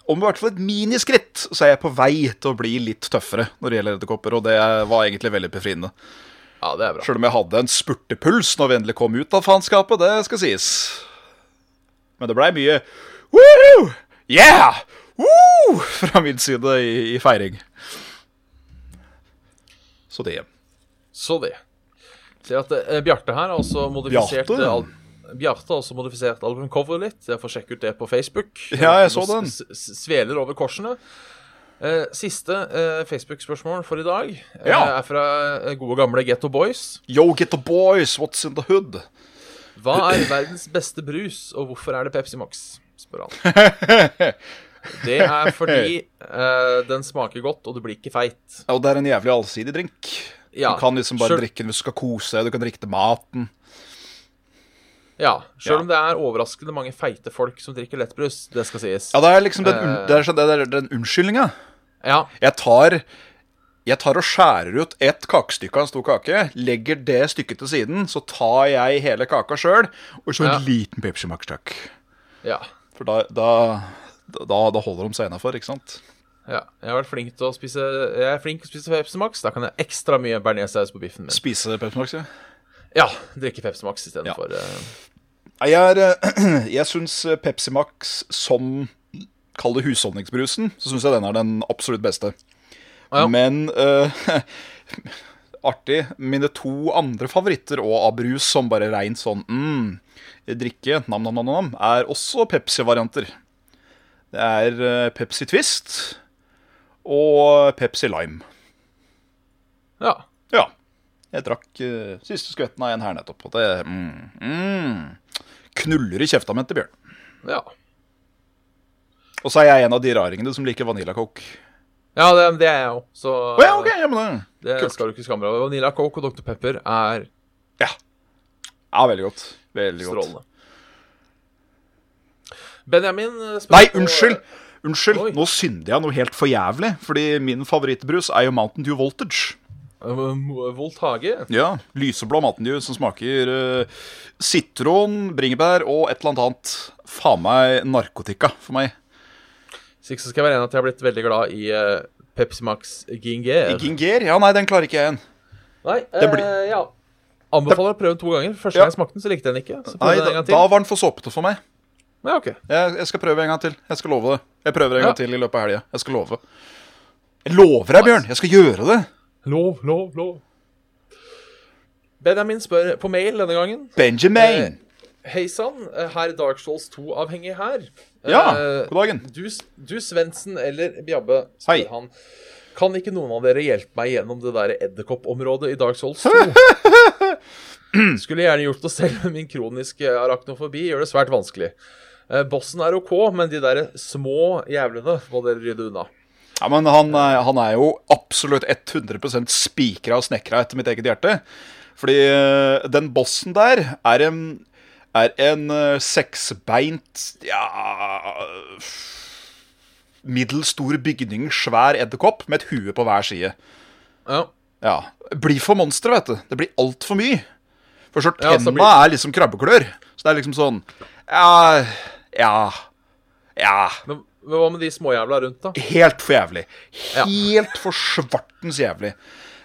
Om i hvert fall et miniskritt, så er jeg på vei til å bli litt tøffere når det gjelder edderkopper, og det var egentlig veldig befriende.
Ja, det er bra.
Sjøl om jeg hadde en spurtepuls når vi endelig kom ut av faenskapet, det skal sies. Men det blei mye Woo! Yeah! Woo! fra min side i, i feiring. Så det.
Så det. Ser at eh, Bjarte her har også modifisert
Bjarte?
eh, al- Bjarte har også modifisert albumcoveret litt. Jeg får sjekke ut det på Facebook.
Ja, jeg så
Nå
den.
s- s- Sveler over korsene. Eh, Siste eh, Facebook-spørsmål for i dag eh,
Ja.
er fra eh, gode gamle Getto Boys.
Yo, get the boys, what's in the hood?
Hva er verdens beste brus, og hvorfor er det Pepsi Max? spør han.
<laughs>
Det er fordi eh, den smaker godt, og du blir ikke feit.
Ja, Og det er en jævlig allsidig drink.
Ja,
Du kan liksom bare
selv-
drikke den hvis du skal kose deg, du kan drikke til maten.
Ja, Sjøl
Ja.
om det er overraskende mange feite folk som drikker lettbrus. Det skal sies.
Ja, det er liksom den, un-
Eh.
det er, sånn- det er den unnskyldninga.
Ja,
Jeg tar jeg tar og skjærer ut ett kakestykke av en stor kake, legger det stykket til siden, så tar jeg hele kaka sjøl, og så en
Ja.
liten Pepsi Max, takk.
ja,
For da, da, da, da holder de seg innafor, ikke sant?
ja. Jeg har vært flink til å spise Jeg er flink til å spise Pepsi Max. Da kan jeg ekstra mye bearnéssaus på biffen min.
Spise Pepsi Max, ja.
Ja, drikke Pepsi Max
Ja.
istedenfor ja.
Nei, Jeg, er, eh, <clears throat> jeg syns Pepsi Max som Kall det husholdningsbrusen, så syns jeg den er den absolutt beste.
Ja.
Men eh, <laughs> artig. Mine to andre favoritter og av brus som bare reint sånn mm, drikke, nam-nam-nam, er også Pepsi-varianter. Det er eh, Pepsi Twist og Pepsi Lime.
ja.
Ja. Jeg drakk eh, siste skvetten av en her nettopp, og det mm, mm, knuller i kjefta mi til Bjørn.
Ja,
Og så er jeg en av de raringene som liker vaniljakokk.
ja det, det er jeg òg, så eh,
Å ja, ok, ja, men det
det
kult.
skal du ikke skamme deg over. Vanilla Coke og Dr. Pepper er
Ja. ja, veldig godt. Veldig godt.
strålende. Benjamin eh, spør
Nei,
på-
unnskyld! Unnskyld,
Oi.
nå synder jeg noe helt for jævlig, fordi min favorittbrus er jo Mountain Dew Voltage.
eh, Volt Hage.
Ja, Lyseblå Mountain Dew som smaker eh, sitron, bringebær og et eller annet annet. Faen meg narkotika for meg.
Hvis ikke så skal jeg være enig at jeg har blitt veldig glad i eh, Pepsi Max Ginger.
Ginger? Ja, nei, den klarer ikke jeg igjen.
Nei,
Det blir-
eh, ja. Anbefaler å prøve den to ganger. Første
Ja.
gang jeg smakte den, så likte jeg den ikke. Så prøvde
Nei,
jeg den en
da,
gang
da
til.
var den for såpete for meg.
Ja, ok.
Jeg, jeg skal prøve en gang til. Jeg skal love det. Jeg prøver en
Ja.
gang til i løpet av helga. Jeg skal love. Jeg lover deg, Bjørn. Jeg skal gjøre det.
Lov, lov, lov. Benjamin spør på mail denne gangen.
Benjamin.
Hei sann, eh, herr Dark Souls 2-avhengig her.
Ja,
Eh,
god dagen.
Du, S- du Svendsen eller Bjabbe, spør
Hei.
han. Kan ikke noen av dere hjelpe meg gjennom det der edderkoppområdet i Dark
<laughs>
Souls 2? Skulle gjerne gjort det selv, men min kroniske arachnofobi gjør det svært vanskelig. Eh, Bossen er OK, men de der små jævlene må dere rydde unna.
Ja, men han, eh, han er jo absolutt 100 spikra og snekra etter mitt eget hjerte. Fordi eh, den bossen der er en, er en eh, seksbeint ja middels stor bygning, svær edderkopp med et hue på hver side.
Ja,
Ja. Blir for monstre, vet du. Det blir altfor mye. For så
Ja,
tenna
så blir-
er liksom krabbeklør. Så det er liksom sånn Ja, ja, ja.
men, men hva med de småjævla rundt, da?
Helt for jævlig.
Ja.
Helt for svartens jævlig.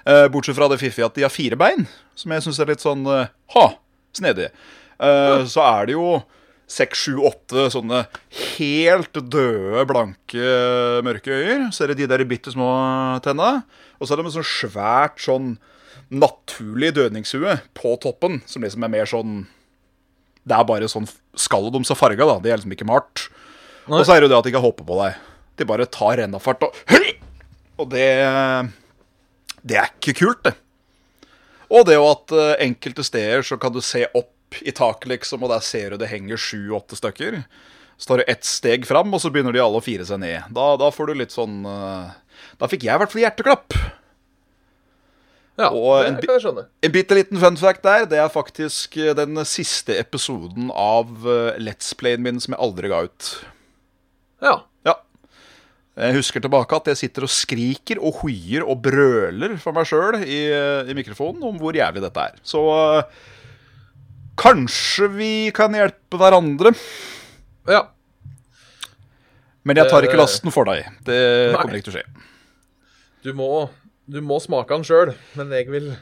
Eh, bortsett fra det fiffige at de har fire bein, som jeg syns er litt sånn eh, ha, snedig. Eh, Så er det jo seks, sju, åtte sånne helt døde, blanke, mørke øyer. Så er det de der bitte små tenna. Og så er det med sånn svært sånn naturlig dødningshue på toppen, som liksom er mer sånn Det er bare sånn skallet deres er farga, da. Det er liksom ikke malt. Og så er det jo det at de ikke hopper på deg. De bare tar rennafart og Høy! Og det Det er ikke kult, det. Og det jo at eh, enkelte steder så kan du se opp i taket, liksom, og der ser du det henger sju-åtte stykker. Så tar du ett steg fram, og så begynner de alle å fire seg ned. Da, da får du litt sånn eh, Da fikk jeg i hvert fall hjerteklapp.
Ja,
og en
det
bi-
kan jeg skjønne.
En bitte liten fun fact der, det er faktisk eh, den siste episoden av eh, Let's Playen min som jeg aldri ga ut.
Ja.
Ja. Jeg husker tilbake at jeg sitter og skriker og hoier og brøler for meg sjøl i, eh, i mikrofonen om hvor jævlig dette er. Så eh, kanskje vi kan hjelpe hverandre.
Ja.
Men jeg tar
Det-
ikke lasten for deg. Det kommer ikke til å skje.
Du må, du må smake den sjøl, men jeg vil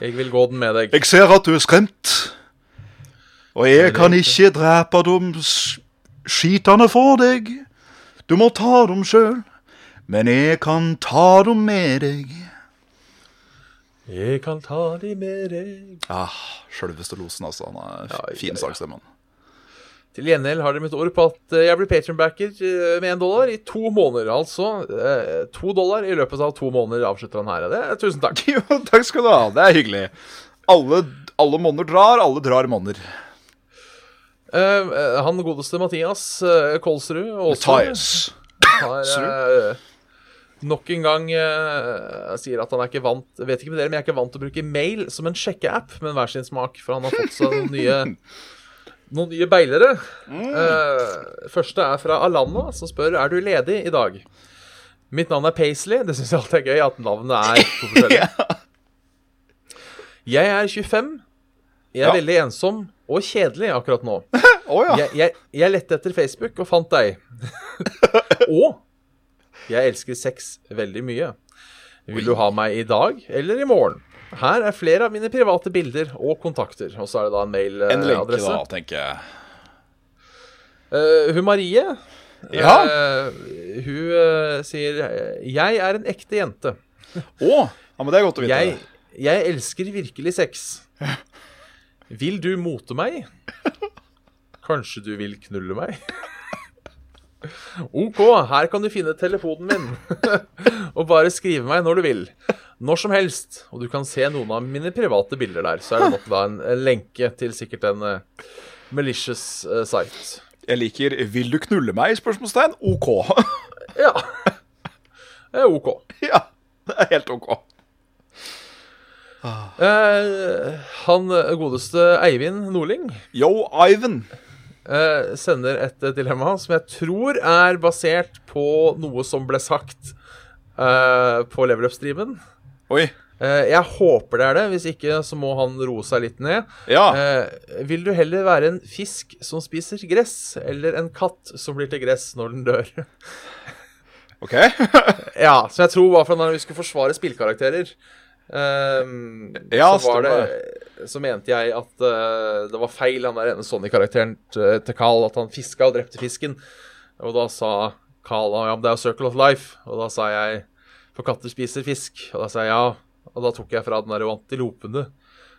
Jeg vil gå den med deg.
Jeg ser at du er skremt. Og jeg kan ikke drepe de s- skitene for deg. Du må ta dem sjøl. Men jeg kan ta dem med deg.
Jeg kan ta de med deg
Ah, Sjølveste losen, altså. Han er f-
Ja, ja, ja.
fin sangstemmen.
Til gjengjeld har dere mitt ord på at eh, jeg blir patronbacker eh, med én dollar i to måneder. Altså eh, to dollar i løpet av to måneder, avslutter han her. Det, er- tusen takk.
Jo, <laughs> takk skal du ha. Det er hyggelig. Alle, alle monner drar, alle drar monner.
Eh, eh, han godeste Mathias eh, Kolsrud også
Matthias.
har eh, nok en gang eh, sier at han er ikke vant jeg Vet ikke med dere, men jeg er ikke vant til å bruke mail som en sjekkeapp, men hver sin smak, for han har fått seg noen nye noen nye beilere. Eh, første er fra Alana, som spør er du ledig i dag. Mitt navn er Paisley. Det syns jeg alltid er gøy at navnet er to forskjellige. Jeg er 25. Jeg er
Ja.
veldig ensom og kjedelig akkurat nå.
Å ja.
Jeg, jeg, jeg lette etter Facebook og fant
<laughs>
deg. og jeg elsker sex veldig mye. Vil du ha meg i dag eller i morgen? Her er flere av mine private bilder og kontakter. Og så er det da en
En lenke,
mailadresse.
da, tenker jeg.
Eh, hun Marie
Ja.
eh, Hun eh, sier Jeg er en ekte jente.
Å, ja, men det er godt å vite.
Jeg, jeg elsker virkelig sex. Vil du mote meg? Kanskje du vil knulle meg? OK, her kan du finne telefonen min. og bare skrive meg når du vil. Når som helst. Og du kan se noen av mine private bilder der. Så er det nok da en, en lenke til sikkert en eh, malicious eh, site.
Jeg liker 'Vil du knulle meg?' spørsmålstegn. OK. <laughs>
Ja. Det er OK.
ja, det er helt OK.
Eh, han eh, godeste Eivind Nordling
Yo, Ivan.
eh, sender et eh, dilemma som jeg tror er basert på noe som ble sagt eh, på Level Up-streamen.
Oi.
Eh, jeg håper det er det. Hvis ikke, så må han roe seg litt ned.
Ja.
Eh, vil du heller være en fisk som spiser gress, eller en katt som blir til gress når den dør?
OK. ja,
ja, som jeg tror var fra da vi skulle forsvare spillkarakterer. Ehm,
Ja,
så var
stemmer
det Så mente jeg at eh, det var feil, han der ene Sony-karakteren til til Carl, at han fiska og drepte fisken. Og da sa Carl ja, men det er jo Circle of Life. Og da sa jeg for katter spiser fisk. Og da sa jeg ja. Og da tok jeg fra den der jo antilopene.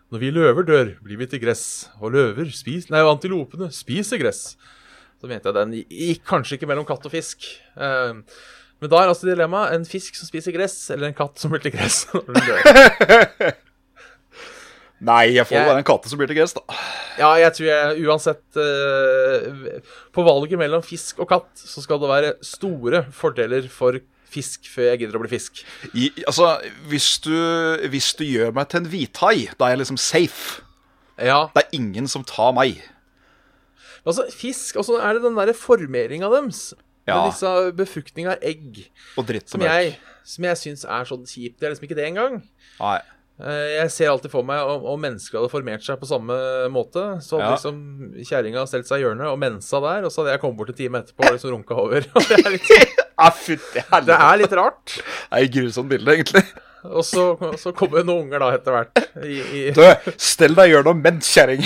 Når vi løver dør, blir vi til gress. Og løver spis... Nei, antilopene spiser gress. Så mente jeg den gikk kanskje ikke mellom katt og fisk. Eh, men da er altså dilemmaet en fisk som spiser gress, eller en katt som blir til gress. når den dør.
Nei, jeg får
Jeg-
være en katte som blir til gress, da.
ja, jeg tror jeg uansett eh, På valget mellom fisk og katt så skal det være store fordeler for fisk før jeg gidder å bli fisk.
I, altså, hvis du, hvis du gjør meg til en hvithai, da er jeg liksom safe.
Ja,
Det er ingen som tar meg.
altså fisk, og så er det den derre formeringa deres.
Ja.
Med disse befuktninga av egg,
Og dritt
som jeg, som jeg syns er sånn kjipt. Det er liksom ikke det engang.
Nei. <laughs>
Eh, Jeg ser alltid for meg om, om mennesker hadde formert seg på samme måte. Så hadde
Ja.
liksom kjerringa stelt seg i hjørnet og mensa der, og så hadde jeg kommet bort en time etterpå og liksom runka over. <laughs> Og det, er litt,
Ja, Ah, fytti
det
helvete.
er litt rart.
Det er et grusomt bilde, egentlig. <laughs>
Og så, så kommer det noen unger da etter hvert. I, i,
Du, stell deg gjennom mens, kjerring.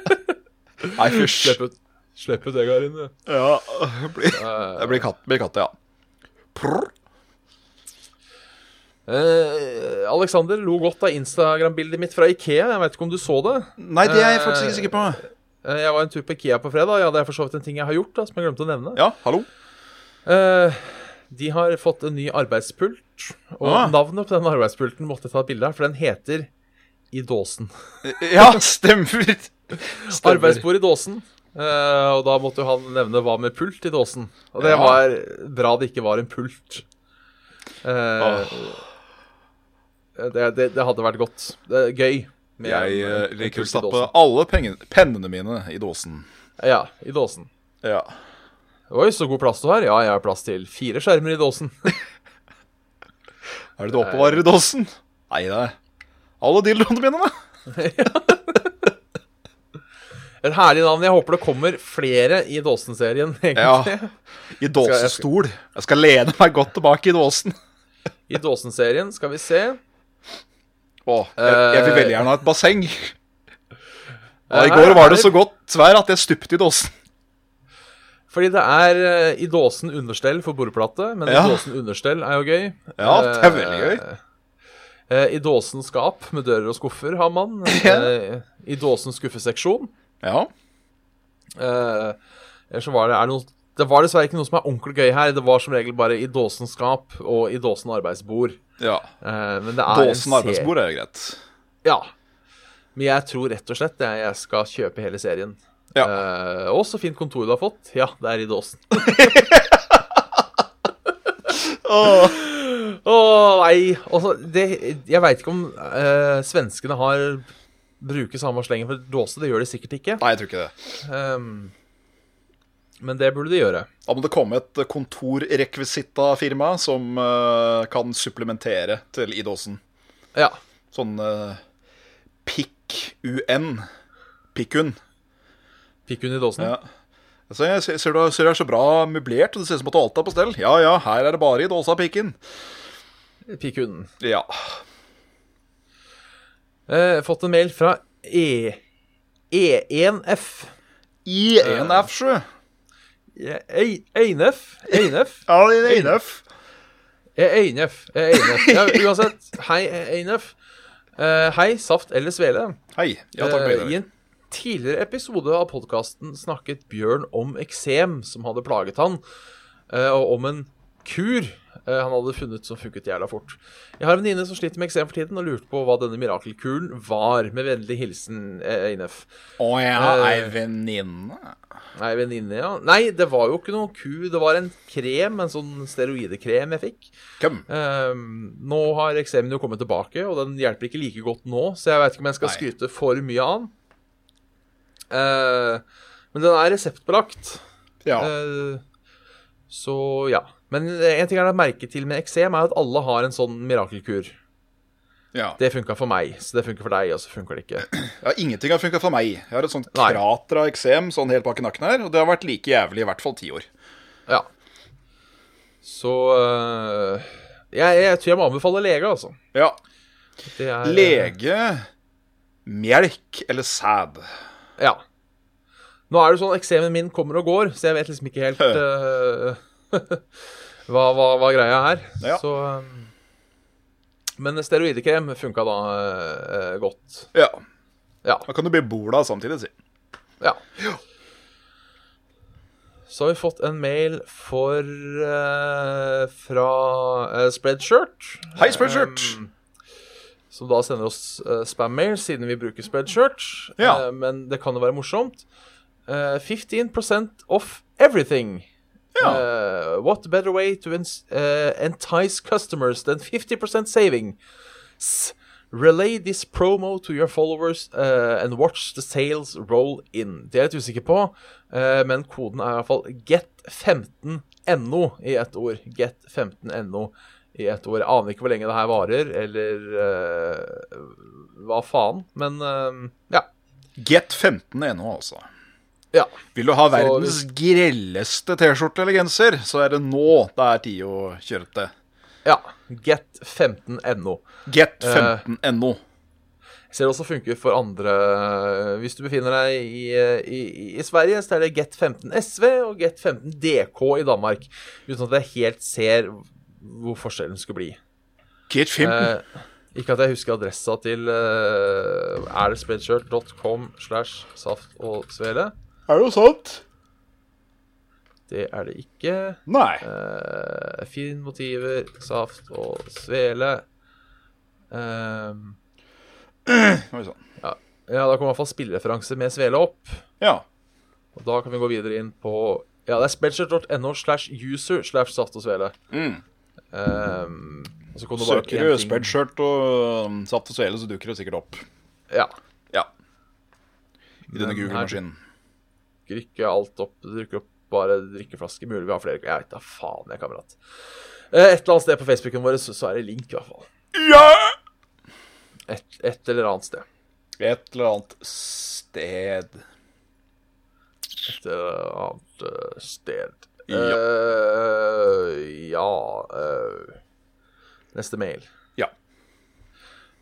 <laughs> Nei, fysj.
slipp ut, slipp ut egga dine.
Ja, det blir, det blir katt, blir katt, ja. Prr.
Eh, Alexander lo godt av Instagram-bildet mitt fra Ikea. Jeg vet ikke om du så det?
Nei, det er jeg faktisk ikke sikker på.
Eh, Jeg var en tur på Ikea på fredag. Ja, det er for så vidt en ting jeg har gjort, da, som jeg glemte å nevne.
Ja, hallo?
Eh, de har fått en ny arbeidspult, og
Ah.
navnet på den arbeidspulten måtte jeg ta et bilde av, for den heter I dåsen.
Ja, stemmer. stemmer.
Arbeidsbord i dåsen. Eh, og da måtte jo han nevne hva med pult i dåsen. Og det
Ja.
var bra det ikke var en pult.
Ah.
Eh, det, det, det hadde vært godt. Det er gøy. med
Jeg
en-
eh,
en
liker
pult
å
i
stappe
dåsen.
alle pengene, pennene mine i dåsen.
Ja, i dåsen.
Ja.
Oi, så god plass du har. Ja, jeg har plass til fire skjermer i dåsen. <laughs>
Er det du oppbevarer i dåsen? Nei, det er alle dildoene mine, da.
Et herlig navn. Jeg håper det kommer flere i Dåsen-serien, <laughs> egentlig.
I dåsestol. Jeg skal lene meg godt tilbake i dåsen.
I Dåsen-serien skal vi se.
Å, jeg, jeg vil veldig gjerne ha et <laughs> basseng. Ja, I går var det så godt vær at jeg stupte i dåsen.
Fordi det er eh, i dåsen understell for bordplate, men
Ja.
i dåsen understell er jo gøy.
Ja, det er veldig gøy.
Eh, I dåsen skap med dører og skuffer har man.
<laughs>
Eh, I dåsen skuffeseksjon.
Ja.
Eh, ellers så var det, er det, noe, det var dessverre ikke noe som er ordentlig gøy her. Det var som regel bare i dåsen skap og i dåsen arbeidsbord.
ja.
Eh, men det er en
Dåsen
serie-
arbeidsbord er jo greit.
Ja. Men jeg tror rett og slett jeg, jeg skal kjøpe hele serien.
Ja.
Eh, å, så fint kontor du har fått. Ja, det er i dåsen.
<laughs>
Å nei! Altså, det, jeg veit ikke om eh, svenskene har bruker samme slengen for dåse. Det gjør de sikkert ikke.
Nei, jeg tror ikke det.
Ehm, men det burde de gjøre.
Da må det komme et kontorrekvisittafirma som eh, kan supplementere til i dåsen.
Ja.
Sånn uh, PIK-UN. PIK-UN.
Pikkun i dåsen.
Ja. Altså, jeg ser, ser, du, ser du er så bra møblert, og det ser ut som at alt er på stell. Ja ja, her er det bare i dåsa pikken.
Pikkunden.
Ja.
Eh, fått en mail fra E... E1F.
I en F7.
E- Einef. Einef.
Ja, i en F.
Eh, Einef. Eh, Einef. Ja, uansett. Hei, eh, Einef. Eh, hei, Saft eller Svele.
Hei. Ja, takk
Eh, I
for det.
en tidligere episode av podkasten snakket Bjørn om eksem som hadde plaget han, eh, og om en kur eh, han hadde funnet som funket jævla fort. Jeg har en venninne som sliter med eksem for tiden, og lurte på hva denne mirakelkuren var. Med vennlig hilsen eh, Einef.
Å ja, ei
eh,
venninne.
Nei, venninne, ja. Nei, det var jo ikke noen kur. Det var en krem, en sånn steroidekrem jeg fikk.
Hvem?
Ehm, nå har eksemen jo kommet tilbake, og den hjelper ikke like godt nå, så jeg veit ikke om jeg skal
Nei.
skryte for mye av den. Eh, men den er reseptbelagt,
Ja.
Eh, så ja. Men en ting er å merke til med eksem, er at alle har en sånn mirakelkur.
ja.
Det funka for meg, så det funker for deg, og så funker det ikke.
ja ingenting har funka for meg. Jeg har et sånt
Nei.
krater av eksem sånn helt bak i nakken her, og det har vært like jævlig i hvert fall ti år.
Ja. Så eh, jeg, jeg tror jeg må anbefale lege, altså.
Ja.
Det er, eh,
Lege, melk eller sæd?
Ja. Nå er det sånn eksemen min kommer og går, så jeg vet liksom ikke helt eh, <laughs> hva, hva, hva greia er.
Ja.
Så um, Men steroidekrem funka da eh, eh, godt.
Ja.
Ja.
Da kan du bli bola samtidig, si.
ja. Så har vi fått en mail for eh, fra eh, Spreadshirt.
Hei, Spreadshirt.
Um, som da sender oss eh, spam-mail, siden vi bruker Spreadshirt.
Ja.
Eh, men det kan jo være morsomt. Eh, 15 off everything. Eh, what better way to ens- eh, entice customers than 50% saving? S- Relay this promo to your followers eh, and watch the sales roll in. Det er jeg litt usikker på, eh, men koden er i hvert fall get15no i ett ord. Get15no i ett ord. Jeg aner ikke hvor lenge det her varer, eller eh, hva faen, men eh, ja.
Get 15 NH, altså.
Ja.
Vil du ha verdens grelleste T-skjorte eller genser, så er det nå det er tid å kjøre til.
ja. Get15no.
Get
Eh.
15 NO.
Ser det også funker for andre eh, Hvis du befinner deg i, eh, i, i Sverige, så er det Get15SV og Get15DK i Danmark. Uten at jeg helt ser hvor forskjellen skulle bli.
Get 15.
Eh, ikke at jeg husker adressa til eh, Er det spreadshirt.com slash saft og svele?
Er det jo sant?
Det er det ikke.
Nei.
Eh, Finn motiver, saft og svele. Ehm,
Oi sann.
ja, da kommer i hvert fall spillereferanse med svele opp.
Ja.
Og da kan vi gå videre inn på Ja, det er spreadshirt.no slash user slash saft og svele.
Mm.
Ehm, og så kom det bare opp
Søker
én
du
ting.
spreadshirt og um, saft og svele, så dukker det sikkert opp
Ja.
Ja, i denne
Men her
Google-maskinen.
dukker ikke alt opp. Det dukker opp bare drikkeflasker. Mulig vi har flere. Jeg vet da faen, jeg, kamerat. Eh, Et eller annet sted på Facebooken vår så, så er det link, i hvert fall. Et, et eller annet sted.
Et eller annet sted.
Et eller annet eh, sted.
Ja.
Eh, ja eh, Neste mail.
Ja.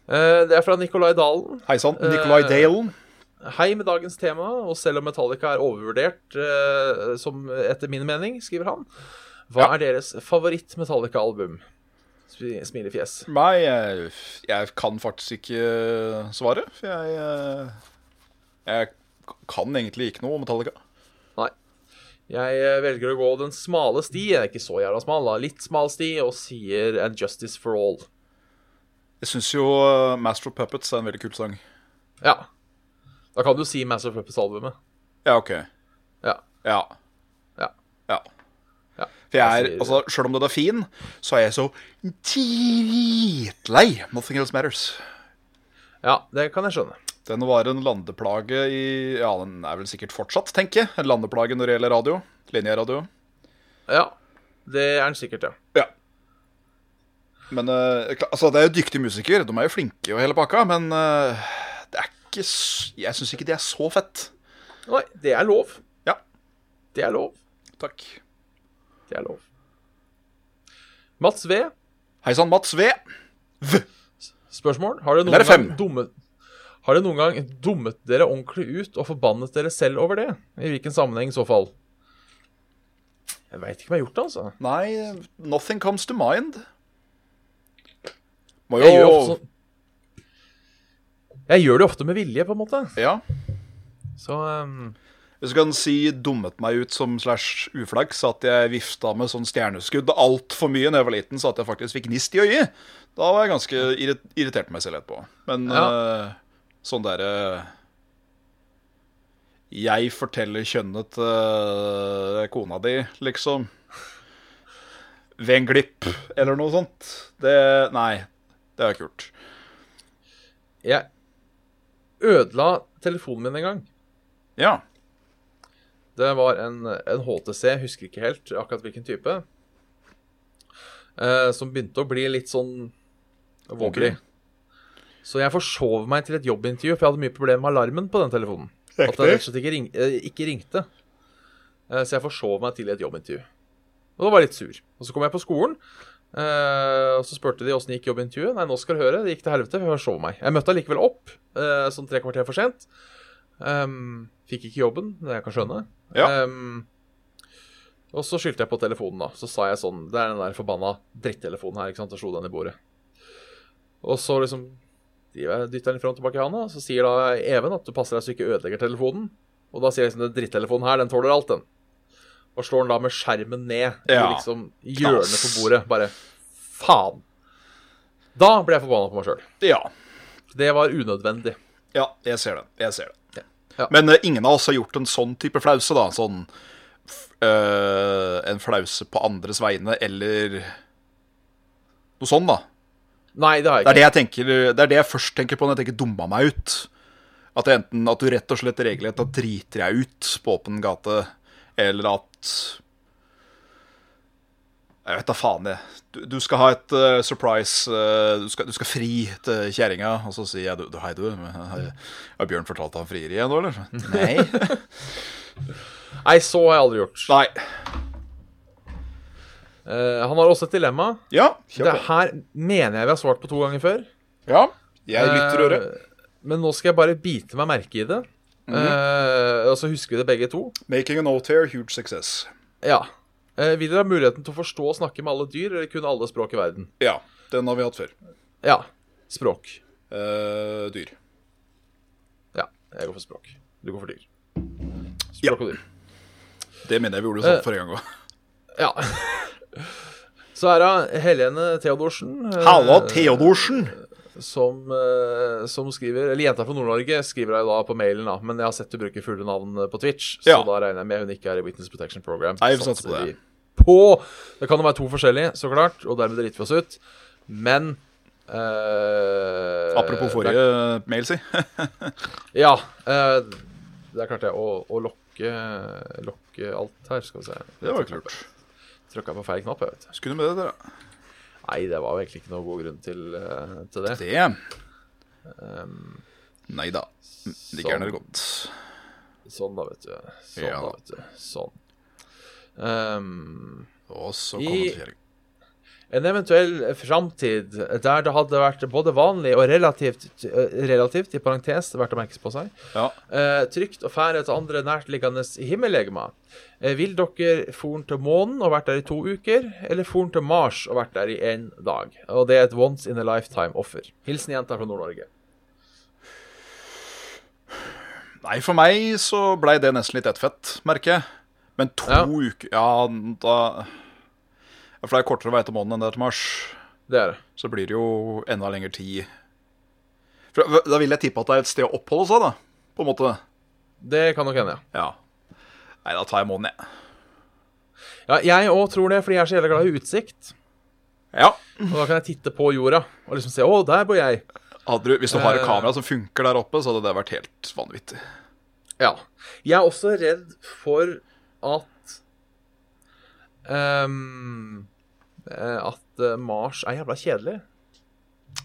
Eh, det er fra Nicolai Dalen.
Hei sann, Nicolay
Eh,
Dalen.
Hei med dagens tema, og selv om Metallica er overvurdert, eh, som etter min mening, skriver han, hva
Ja.
er deres favoritt-Metallica-album? Smi- Smilefjes.
Nei, jeg, jeg kan faktisk ikke svare. For jeg eh, Jeg kan egentlig ikke noe om Metallica.
Nei. Jeg eh, velger å gå den smale sti, jeg er ikke så jævla smal, da. litt smal sti, og sier And Justice for All.
Jeg syns jo eh, Master of Puppets er en veldig kul sang.
Ja. Da kan du si Master of Puppets-albumet.
Ja, OK.
Ja.
Ja.
Ja.
ja.
Ja.
For jeg er,
Jeg sier-
altså, Sjøl om den er fin, så er jeg så dritlei Nothing Else Matters.
ja, det kan jeg skjønne.
Den var en landeplage i Ja, den er vel sikkert fortsatt, tenker jeg. En landeplage når det gjelder radio. Linjeradio.
Ja. Det er den sikkert, ja.
Ja. Men eh, kla- altså, det er jo dyktige musikere. De er jo flinke og hele pakka, men eh, det er ikke s- Jeg syns ikke det er så fett.
Nei, det er lov.
Ja.
Det er lov.
Takk.
Det er lov. Mats V.
Hei sann, Mats V.
Spørsmål? Har dere
Eller
noen
er det fem?
gang dummet har dere noen gang dummet dere ordentlig ut og forbannet dere selv over det? I hvilken sammenheng i så fall? Jeg veit ikke om jeg har gjort det, altså.
Nei, nothing comes to mind. Må
Jeg gjør, ofte, sånn- jeg gjør det ofte med vilje, på en måte.
Ja.
Så ehm,
Hvis du kan si 'dummet meg ut' som slash uflaks, at jeg vifta med sånn stjerneskudd altfor mye da jeg var liten, så at jeg faktisk fikk gnist i øyet, da var jeg ganske irrit irritert på meg selv etterpå. Men eh, sånn derre Jeg forteller kjønnet til kona di, liksom. Ved en glipp, eller noe sånt. Det Nei, det har jeg ikke gjort.
jeg ødela telefonen min en gang.
Ja.
Det var en, en HTC, jeg husker ikke helt akkurat hvilken type, eh, som begynte å bli litt sånn wobbly. Så jeg forsov meg til et jobbintervju, for jeg hadde mye problemer med alarmen på den telefonen. At den rett og slett ikke, ring, eh, ikke ringte. Eh, så jeg forsov meg til et jobbintervju. Og da var jeg litt sur. Og så kom jeg på skolen, eh, og så spurte de åssen gikk jobbintervjuet. Nei, nå skal du høre, det gikk til helvete, for jeg forsov meg. Jeg møtte allikevel opp, eh, sånn tre kvarter for sent. Ehm, fikk ikke jobben, det jeg kan skjønne.
Ja.
Ehm, og så skyldte jeg på telefonen, da. Så sa jeg sånn Det er den der forbanna drittelefonen her, ikke sant. Og slo den i bordet. Og så liksom dytter den fram og tilbake i handa, så sier da Even at du passer deg så du ikke ødelegger telefonen. Og da sier jeg liksom den drittelefonen her, den tåler alt, den. Og slår den da med skjermen ned i
Ja.
liksom hjørnet på
Knas.
bordet. Bare faen. Da ble jeg forbanna på meg sjøl.
ja.
Det var unødvendig.
Ja, jeg ser den. Jeg ser den.
Ja.
Men eh, ingen av oss har gjort en sånn type flause, da. Sånn f- eh, En flause på andres vegne, eller noe sånn, da.
Nei, det har jeg
Det
ikke.
er det jeg tenker Det er det jeg først tenker på når jeg tenker 'dumma meg ut'. At det enten at du rett og slett regelrett da driter jeg ut på åpen gate, eller at Jeg vet da faen, jeg. Du, du skal ha et eh, surprise eh, du, skal, du skal fri til kjerringa, og så sier jeg du, du, 'hei, du'. men Har, har Bjørn fortalt at han frier igjen nå, eller? Nei.
Nei, så har jeg aldri gjort.
Nei.
Eh, han har også et dilemma.
Ja,
Det
kjør på.
her mener jeg vi har svart på to ganger før.
Ja, jeg lytter øret.
Eh, Men nå skal jeg bare bite meg merke i det.
Mhm.
Eh, og så husker vi det begge to.
Making a note here, huge success.
Ja. Eh, vil dere ha muligheten til å forstå og snakke med alle dyr, eller kunne alle språk i verden?
Ja, den har vi hatt før.
Ja. Språk.
Eh, dyr.
Ja. Jeg går for språk. Du går for dyr. Språk
Ja.
og dyr.
Det mener jeg vi gjorde sånn
Eh,
forrige gang òg.
Ja. <laughs> Så er det Helene Theodorsen. eh,
Halla, Theodorsen.
som, eh, som skriver Eller jenta fra Nord-Norge skriver jeg da på mailen, da. Men jeg har sett du bruker fulle navn eh, på Twitch, så
Ja.
da regner jeg med hun ikke er i Witness Protection Program.
Nei, vi satser på det.
vi På! Det kan jo være to forskjellige, så klart, og dermed driter vi oss ut. Men eh,
Apropos
det
forrige mail, si.
er- Ja. eh, der klarte jeg å, å lokke lokke, lokke alt her, skal vi se.
Det var jo klart.
Trykka på feil knapp, jeg vet.
Skulle med det, dere.
Nei, det var jo egentlig ikke noe god grunn til, eh, til det.
Det Nei da. Det
sånn.
gærner godt.
Sånn, da, vet du. Sånn,
Ja.
da, vet du. Sånn. Ehm,
Og så
I-
kommentering.
en eventuell framtid der det hadde vært både vanlig og relativt, eh, relativt i parentes, verdt å merke på seg,
Ja.
eh, trygt å fære til andre nærtliggende himmellegemer. Eh, vil dere for'n til månen og vært der i to uker, eller for'n til Mars og vært der i én dag? Og det er et once in a lifetime-offer. Hilsen jenta fra Nord-Norge.
Nei, for meg så blei det nesten litt ettfett, merker jeg. Men to
Ja.
uker Ja, da Ja, For det er kortere vei til månen enn det er til Mars.
Det er det.
Så blir det jo enda lengre tid. For, da vil jeg tippe at det er et sted å oppholde seg, da. På en måte.
Det kan nok hende, ja.
Ja. Nei, da tar jeg månen, jeg.
Ja, jeg òg tror det, fordi jeg er så jævla glad i utsikt.
Ja.
Og da kan jeg titte på jorda og liksom se Å, der bor jeg.
Hadde du, hvis du har et
Eh.
kamera som funker der oppe, så hadde det vært helt vanvittig.
Ja. Jeg er også redd for at ehm, eh, At eh, Mars er jævla kjedelig.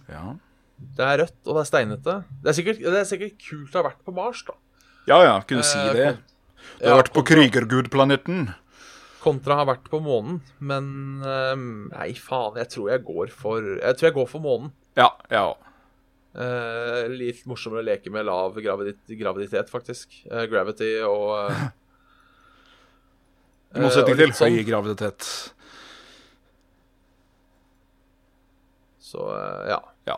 Ja,
Det er rødt, og det er steinete. Det er sikkert, det er sikkert kult å ha vært på Mars, da.
ja, ja kunne si
Eh,
det.
kon-
Du har
ja,
vært på Krygergud-planeten.
Kontra har vært på månen. Men ehm, nei, faen, jeg tror jeg går for Jeg tror jeg går for månen.
Ja, ja.
Eh, litt morsommere å leke med lav gravidit graviditet, faktisk. Eh, gravity og eh,
I
eh,
motsetning
og
til
litt sånn.
høy graviditet.
Så eh, ja.
Ja.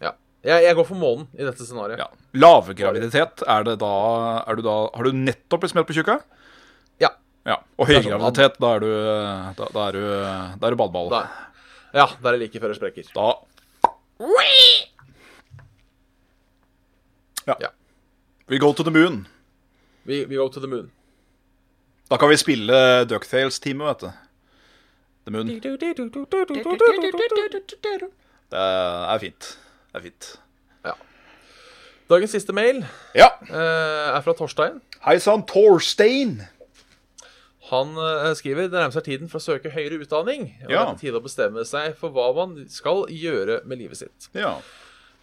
ja. Jeg, jeg går for månen i dette scenarioet.
ja. Lavgraviditet, er det da, er du da Har du nettopp blitt smelt på tjukka?
Ja.
Ja. Og
Det er sånn,
høygraviditet, da er du Da, da er du, da er du badeball.
Da, ja, der er like før det sprekker.
Da
Ja.
We go to the moon.
We, we go to the moon.
Da kan vi spille Ducktales-teamet, vet du. The Moon. Det er fint. Det er fint.
Dagens siste mail
Ja.
eh, er fra Torstein.
Hei sann, Torstein.
Han eh, skriver det nærmer seg tiden for å søke høyere utdanning. Og det
Ja.
er på tide å bestemme seg for hva man skal gjøre med livet sitt.
Ja.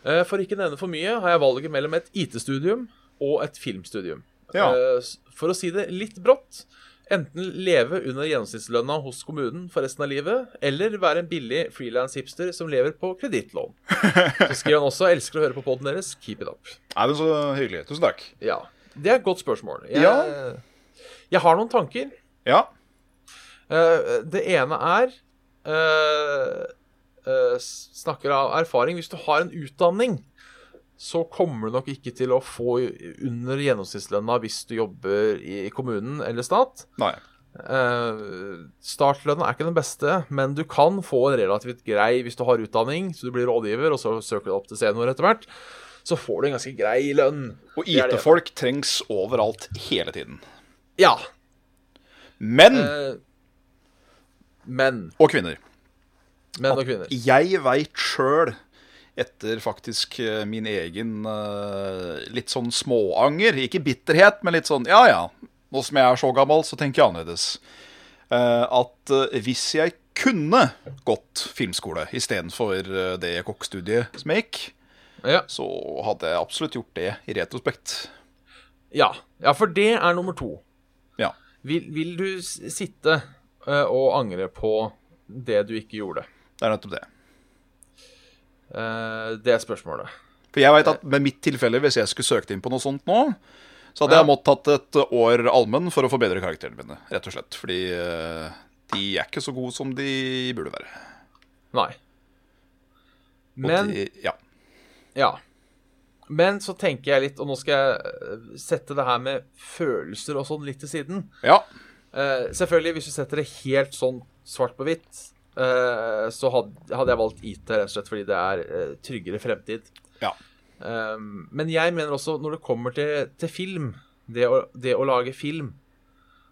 Eh, For ikke å nevne for mye har jeg valget mellom et IT-studium og et filmstudium.
Ja.
Eh, s- For å si det litt brått enten leve under gjennomsnittslønna hos kommunen for resten av livet, eller være en billig frilans hipster som lever på
<laughs>
kredittlån. Så skriver han også 'elsker å høre på poden deres', keep it up.
Nei, men Så hyggelig. Tusen takk.
Ja, Det er et godt spørsmål. Jeg, eh,
Ja.
jeg har noen tanker.
Ja.
Eh, det ene er eh, eh, s- Snakker av erfaring. Hvis du har en utdanning, så kommer du nok ikke til å få under gjennomsnittslønna hvis du jobber i kommunen eller stat.
Nei.
Eh, startlønna er ikke den beste, men du kan få en relativt grei hvis du har utdanning, så du blir rådgiver, og så søker du opp til senior etter hvert. Så får du en ganske grei lønn.
Og
Det er det.
IT-folk trengs overalt hele tiden.
Ja.
Menn
eh, menn.
og kvinner.
Menn og kvinner.
Jeg veit sjøl, etter faktisk eh, min egen eh, litt sånn småanger, ikke bitterhet, men litt sånn ja ja, nå som jeg er så gammel, så tenker jeg annerledes. Eh, At eh, hvis jeg kunne gått filmskole istedenfor eh, det kokkstudiet som jeg gikk,
Ja.
så hadde jeg absolutt gjort det i retrospekt.
Ja, ja for det er nummer to.
Ja.
Vil, vil du s- sitte eh, og angre på det du ikke gjorde?
Det er nettopp det.
Eh, det er spørsmålet.
For jeg vet at
Eh.
med mitt tilfelle, hvis jeg skulle søkt inn på noe sånt nå, så hadde
Ja.
jeg måttet tatt et år allmenn for å forbedre karakterene mine, rett og slett. Fordi eh, de er ikke så gode som de burde være.
Nei.
Og
Men
de, ja.
Ja. Men så tenker jeg litt, og nå skal jeg eh, sette det her med følelser og sånn litt til siden.
ja.
Eh, selvfølgelig, hvis du setter det helt sånn svart på hvitt, eh, så hadde, hadde jeg valgt IT, rett og slett fordi det er eh, tryggere fremtid.
Ja.
Um, men jeg mener også, når det kommer til, til film, det å, det å lage film,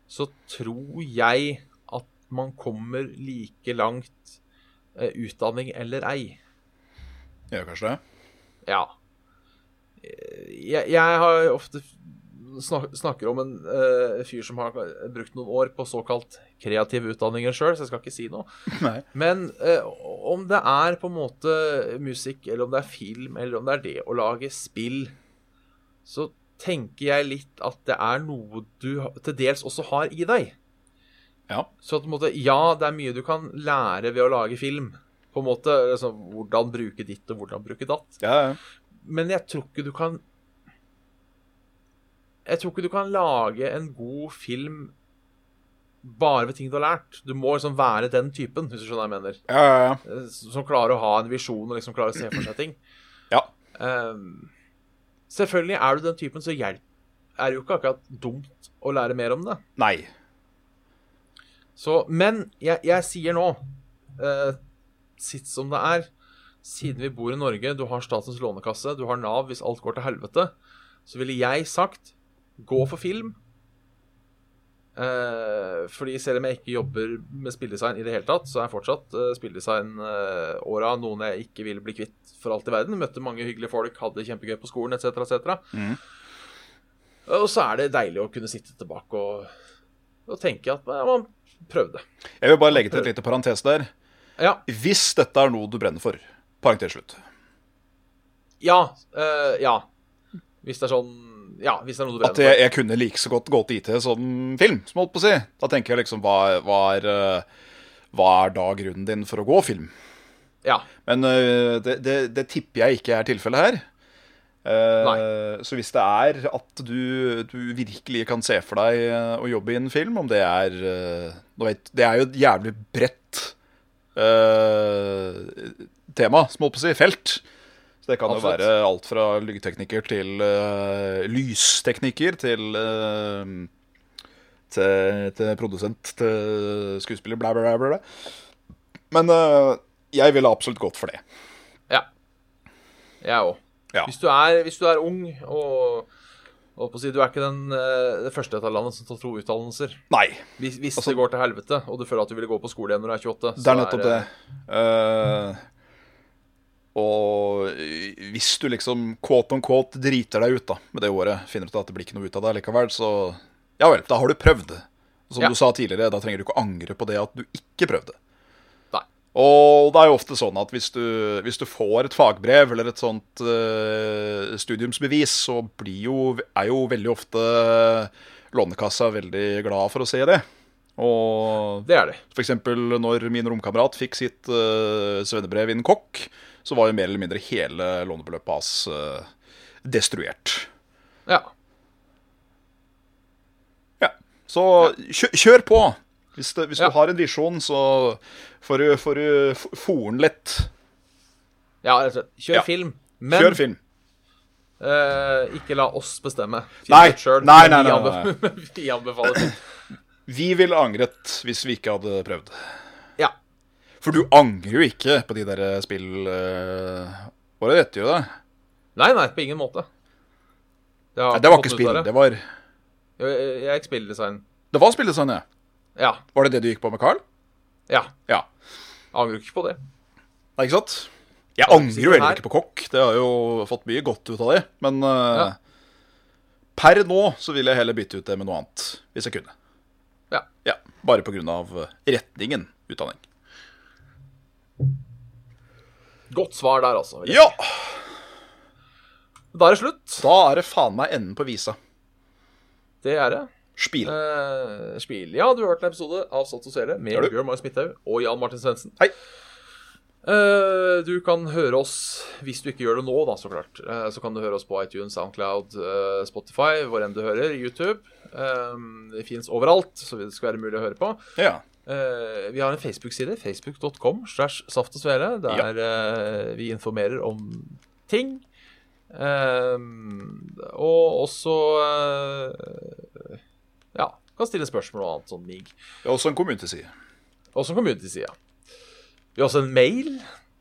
så tror jeg at man kommer like langt eh, utdanning eller ei.
Gjør kanskje det.
Ja. Eh, Jeg, jeg har ofte snak- snakker om en eh, fyr som har brukt noen år på såkalt kreative utdanninger sjøl, så jeg skal ikke si noe.
<laughs> Nei.
Men eh, om det er på en måte musikk, eller om det er film, eller om det er det å lage spill, så tenker jeg litt at det er noe du ha- til dels også har i deg.
Ja.
Så at, på en måte, ja, det er mye du kan lære ved å lage film. På en måte, altså, Hvordan bruke ditt og hvordan bruke datt.
Ja, ja.
Men jeg tror ikke du kan Jeg tror ikke du kan lage en god film bare ved ting du har lært. Du må liksom være den typen, hvis du skjønner hva jeg mener.
ja, ja, ja.
Eh, Som klarer å ha en visjon og liksom klarer å se for seg ting.
Ja.
Ehm, selvfølgelig er du den typen, så hjelp. er det jo ikke akkurat dumt å lære mer om det.
Nei.
Så, men jeg, jeg sier nå, eh, sitt som det er, siden vi bor i Norge, du har Statens lånekasse, du har Nav hvis alt går til helvete, så ville jeg sagt gå for film. Eh, fordi selv om jeg ikke jobber med spilldesign i det hele tatt, så er fortsatt eh, spilldesign-åra noen jeg ikke vil bli kvitt for alt i verden. Møtte mange hyggelige folk, hadde det kjempegøy på skolen etc. etc.
Mhm.
Og så er det deilig å kunne sitte tilbake og, og tenke at ja, man prøvde.
Jeg vil bare legge til et lite parentes der.
Ja.
Hvis dette er noe du brenner for. Parentes slutt.
Ja. eh, ja. Hvis det er sånn Ja, hvis det er noe du
At
brenner
jeg,
for.
jeg kunne like så godt gått i til sånn film, som jeg holdt på å si. Da tenker jeg liksom hva, hva, er, eh, hva er da grunnen din for å gå film?
Ja.
Men øh, det, det, det tipper jeg ikke er tilfellet her. Eh, så hvis det er at du, du virkelig kan se for deg eh, å jobbe i en film, om det er eh, nå vet, Det er jo et jævlig bredt eh, tema, som jeg holdt på å si, felt. Så det kan
Absolutt.
jo være alt fra lydteknikker til eh, lysteknikker til eh, til, til produsent, til skuespiller, bla, bla, bla. bla, bla. Men øh, jeg ville absolutt gått for det.
ja. Jeg òg.
Ja.
Hvis, du er- hvis du er ung og og på å si, Du er ikke den, eh, det første i dette landet som tar to utdannelser.
Nei,
Hvis, hvis
Altså-
det går til helvete, og du føler at du ville gå på skole igjen når du er 28
det er nettopp det.
eh,
Eh, og hvis du liksom quote on quote driter deg ut da med det året, finner ut at det blir ikke noe ut av det likevel, så ja vel, da har du prøvd. Som
Ja.
du sa tidligere, da trenger du ikke å angre på det at du ikke prøvde.
Nei.
Og det er jo ofte sånn at hvis du, hvis du får et fagbrev eller et sånt eh, studiumsbevis, så blir jo, er jo veldig ofte Lånekassa veldig glad for å se det. Og
Det er det.
for eksempel når min romkamerat fikk sitt eh, svennebrev innen kokk, så var jo mer eller mindre hele lånebeløpet hans eh, destruert.
Ja.
Ja. Så kjø kjør på! Hvis, det, hvis
Ja.
du har en visjon, så får du, får du f- foren lett.
ja rett og slett. Kjør
Ja.
film. Men
Kjør film.
eh, ikke la oss bestemme. Finn
Nei.
ut selv,
Nei,
men
nei, nei,
vi anbe- Vi anbefaler <laughs> film.
Vi ville angret hvis vi ikke hadde prøvd.
Ja.
For du angrer jo ikke på de der eh, spillåra uh, ditt, gjør du det?
Nei, nei, på ingen måte. Det, har
Nei, det var
fått
ikke
noe
spill,
ut av
det var,
Jo, Jeg, jeg gikk spilldesign.
det var spilldesign, ja.
Ja.
Var det det du gikk på med Carl?
ja.
Ja.
Angrer ikke på det.
Nei, ikke sant? Jeg
sitter
angrer jo heller
her.
ikke på kokk. Det har jo fått mye godt ut av det. Men eh, per nå så vil jeg heller bytte ut det med noe annet, hvis jeg kunne.
Ja.
Ja, Bare pga. eh, retningen utdanning.
Godt svar der, altså. vil jeg
Ja!
si. Da er det slutt.
Da er det faen meg enden på visa.
Det er det.
Spil.
Eh, Spil. Ja, du har hørt en episode av Satt og Sele med
Har du?
Bjørn Marius Midthaug og Jan Martin Svendsen.
Hei.
Eh, du kan høre oss, hvis du ikke gjør det nå, da, så klart. Eh, så kan du høre oss på iTunes, Soundcloud, eh, Spotify, hvor enn du hører. YouTube. Eh, det fins overalt, så det skal være mulig å høre på.
Ja.
Eh, vi har en Facebook-side, facebook.com slash saft og svele, der eh, vi informerer om ting. Ehm, og også eh, Ja, kan stille spørsmål og annet sånn mig.
Det er også en kommuneside.
Også community-sida. Vi har også en mail,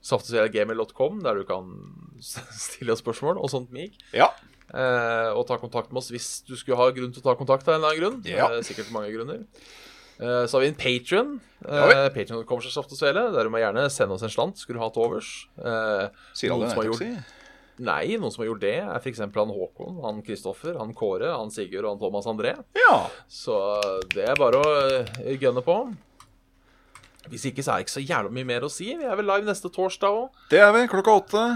saftogsvelegmail.com, der du kan <laughs> stille oss spørsmål og sånt mig.
Ja.
Eh, og ta kontakt med oss hvis du skulle ha grunn til å ta kontakt. av en eller annen grunn
Ja.
eh, Sikkert mange grunner eh, Så har vi en Patrion.
Ja vel.
Eh, Patreon kommer seg saft og svele. Der du må gjerne sende oss en slant. Skulle du ha til overs. Eh,
Sier
noen
alle.
som har
jeg
gjort-
tenkte å si.
Nei, noen som har gjort det, er f.eks. han Håkon, han Kristoffer, han Kåre, han Sigurd og han Thomas André.
Ja.
Så det er bare å eh, gunne på. Hvis ikke, så er det ikke så jævla mye mer å si. Vi er vel live neste torsdag òg.
Det er vi. Klokka åtte.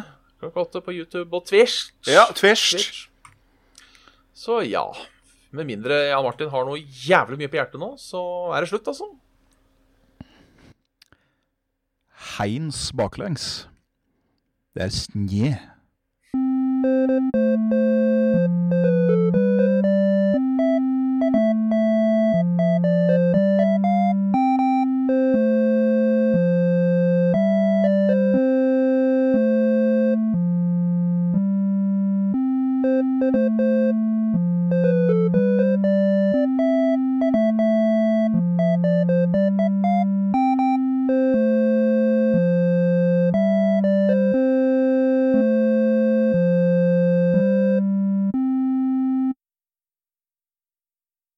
Klokka åtte på YouTube og Twitch.
Ja, tverst.
Twitch. Så ja. Med mindre Jan Martin har noe jævlig mye på hjertet nå, så er det slutt, altså.
Heins baklengs. Det er snje.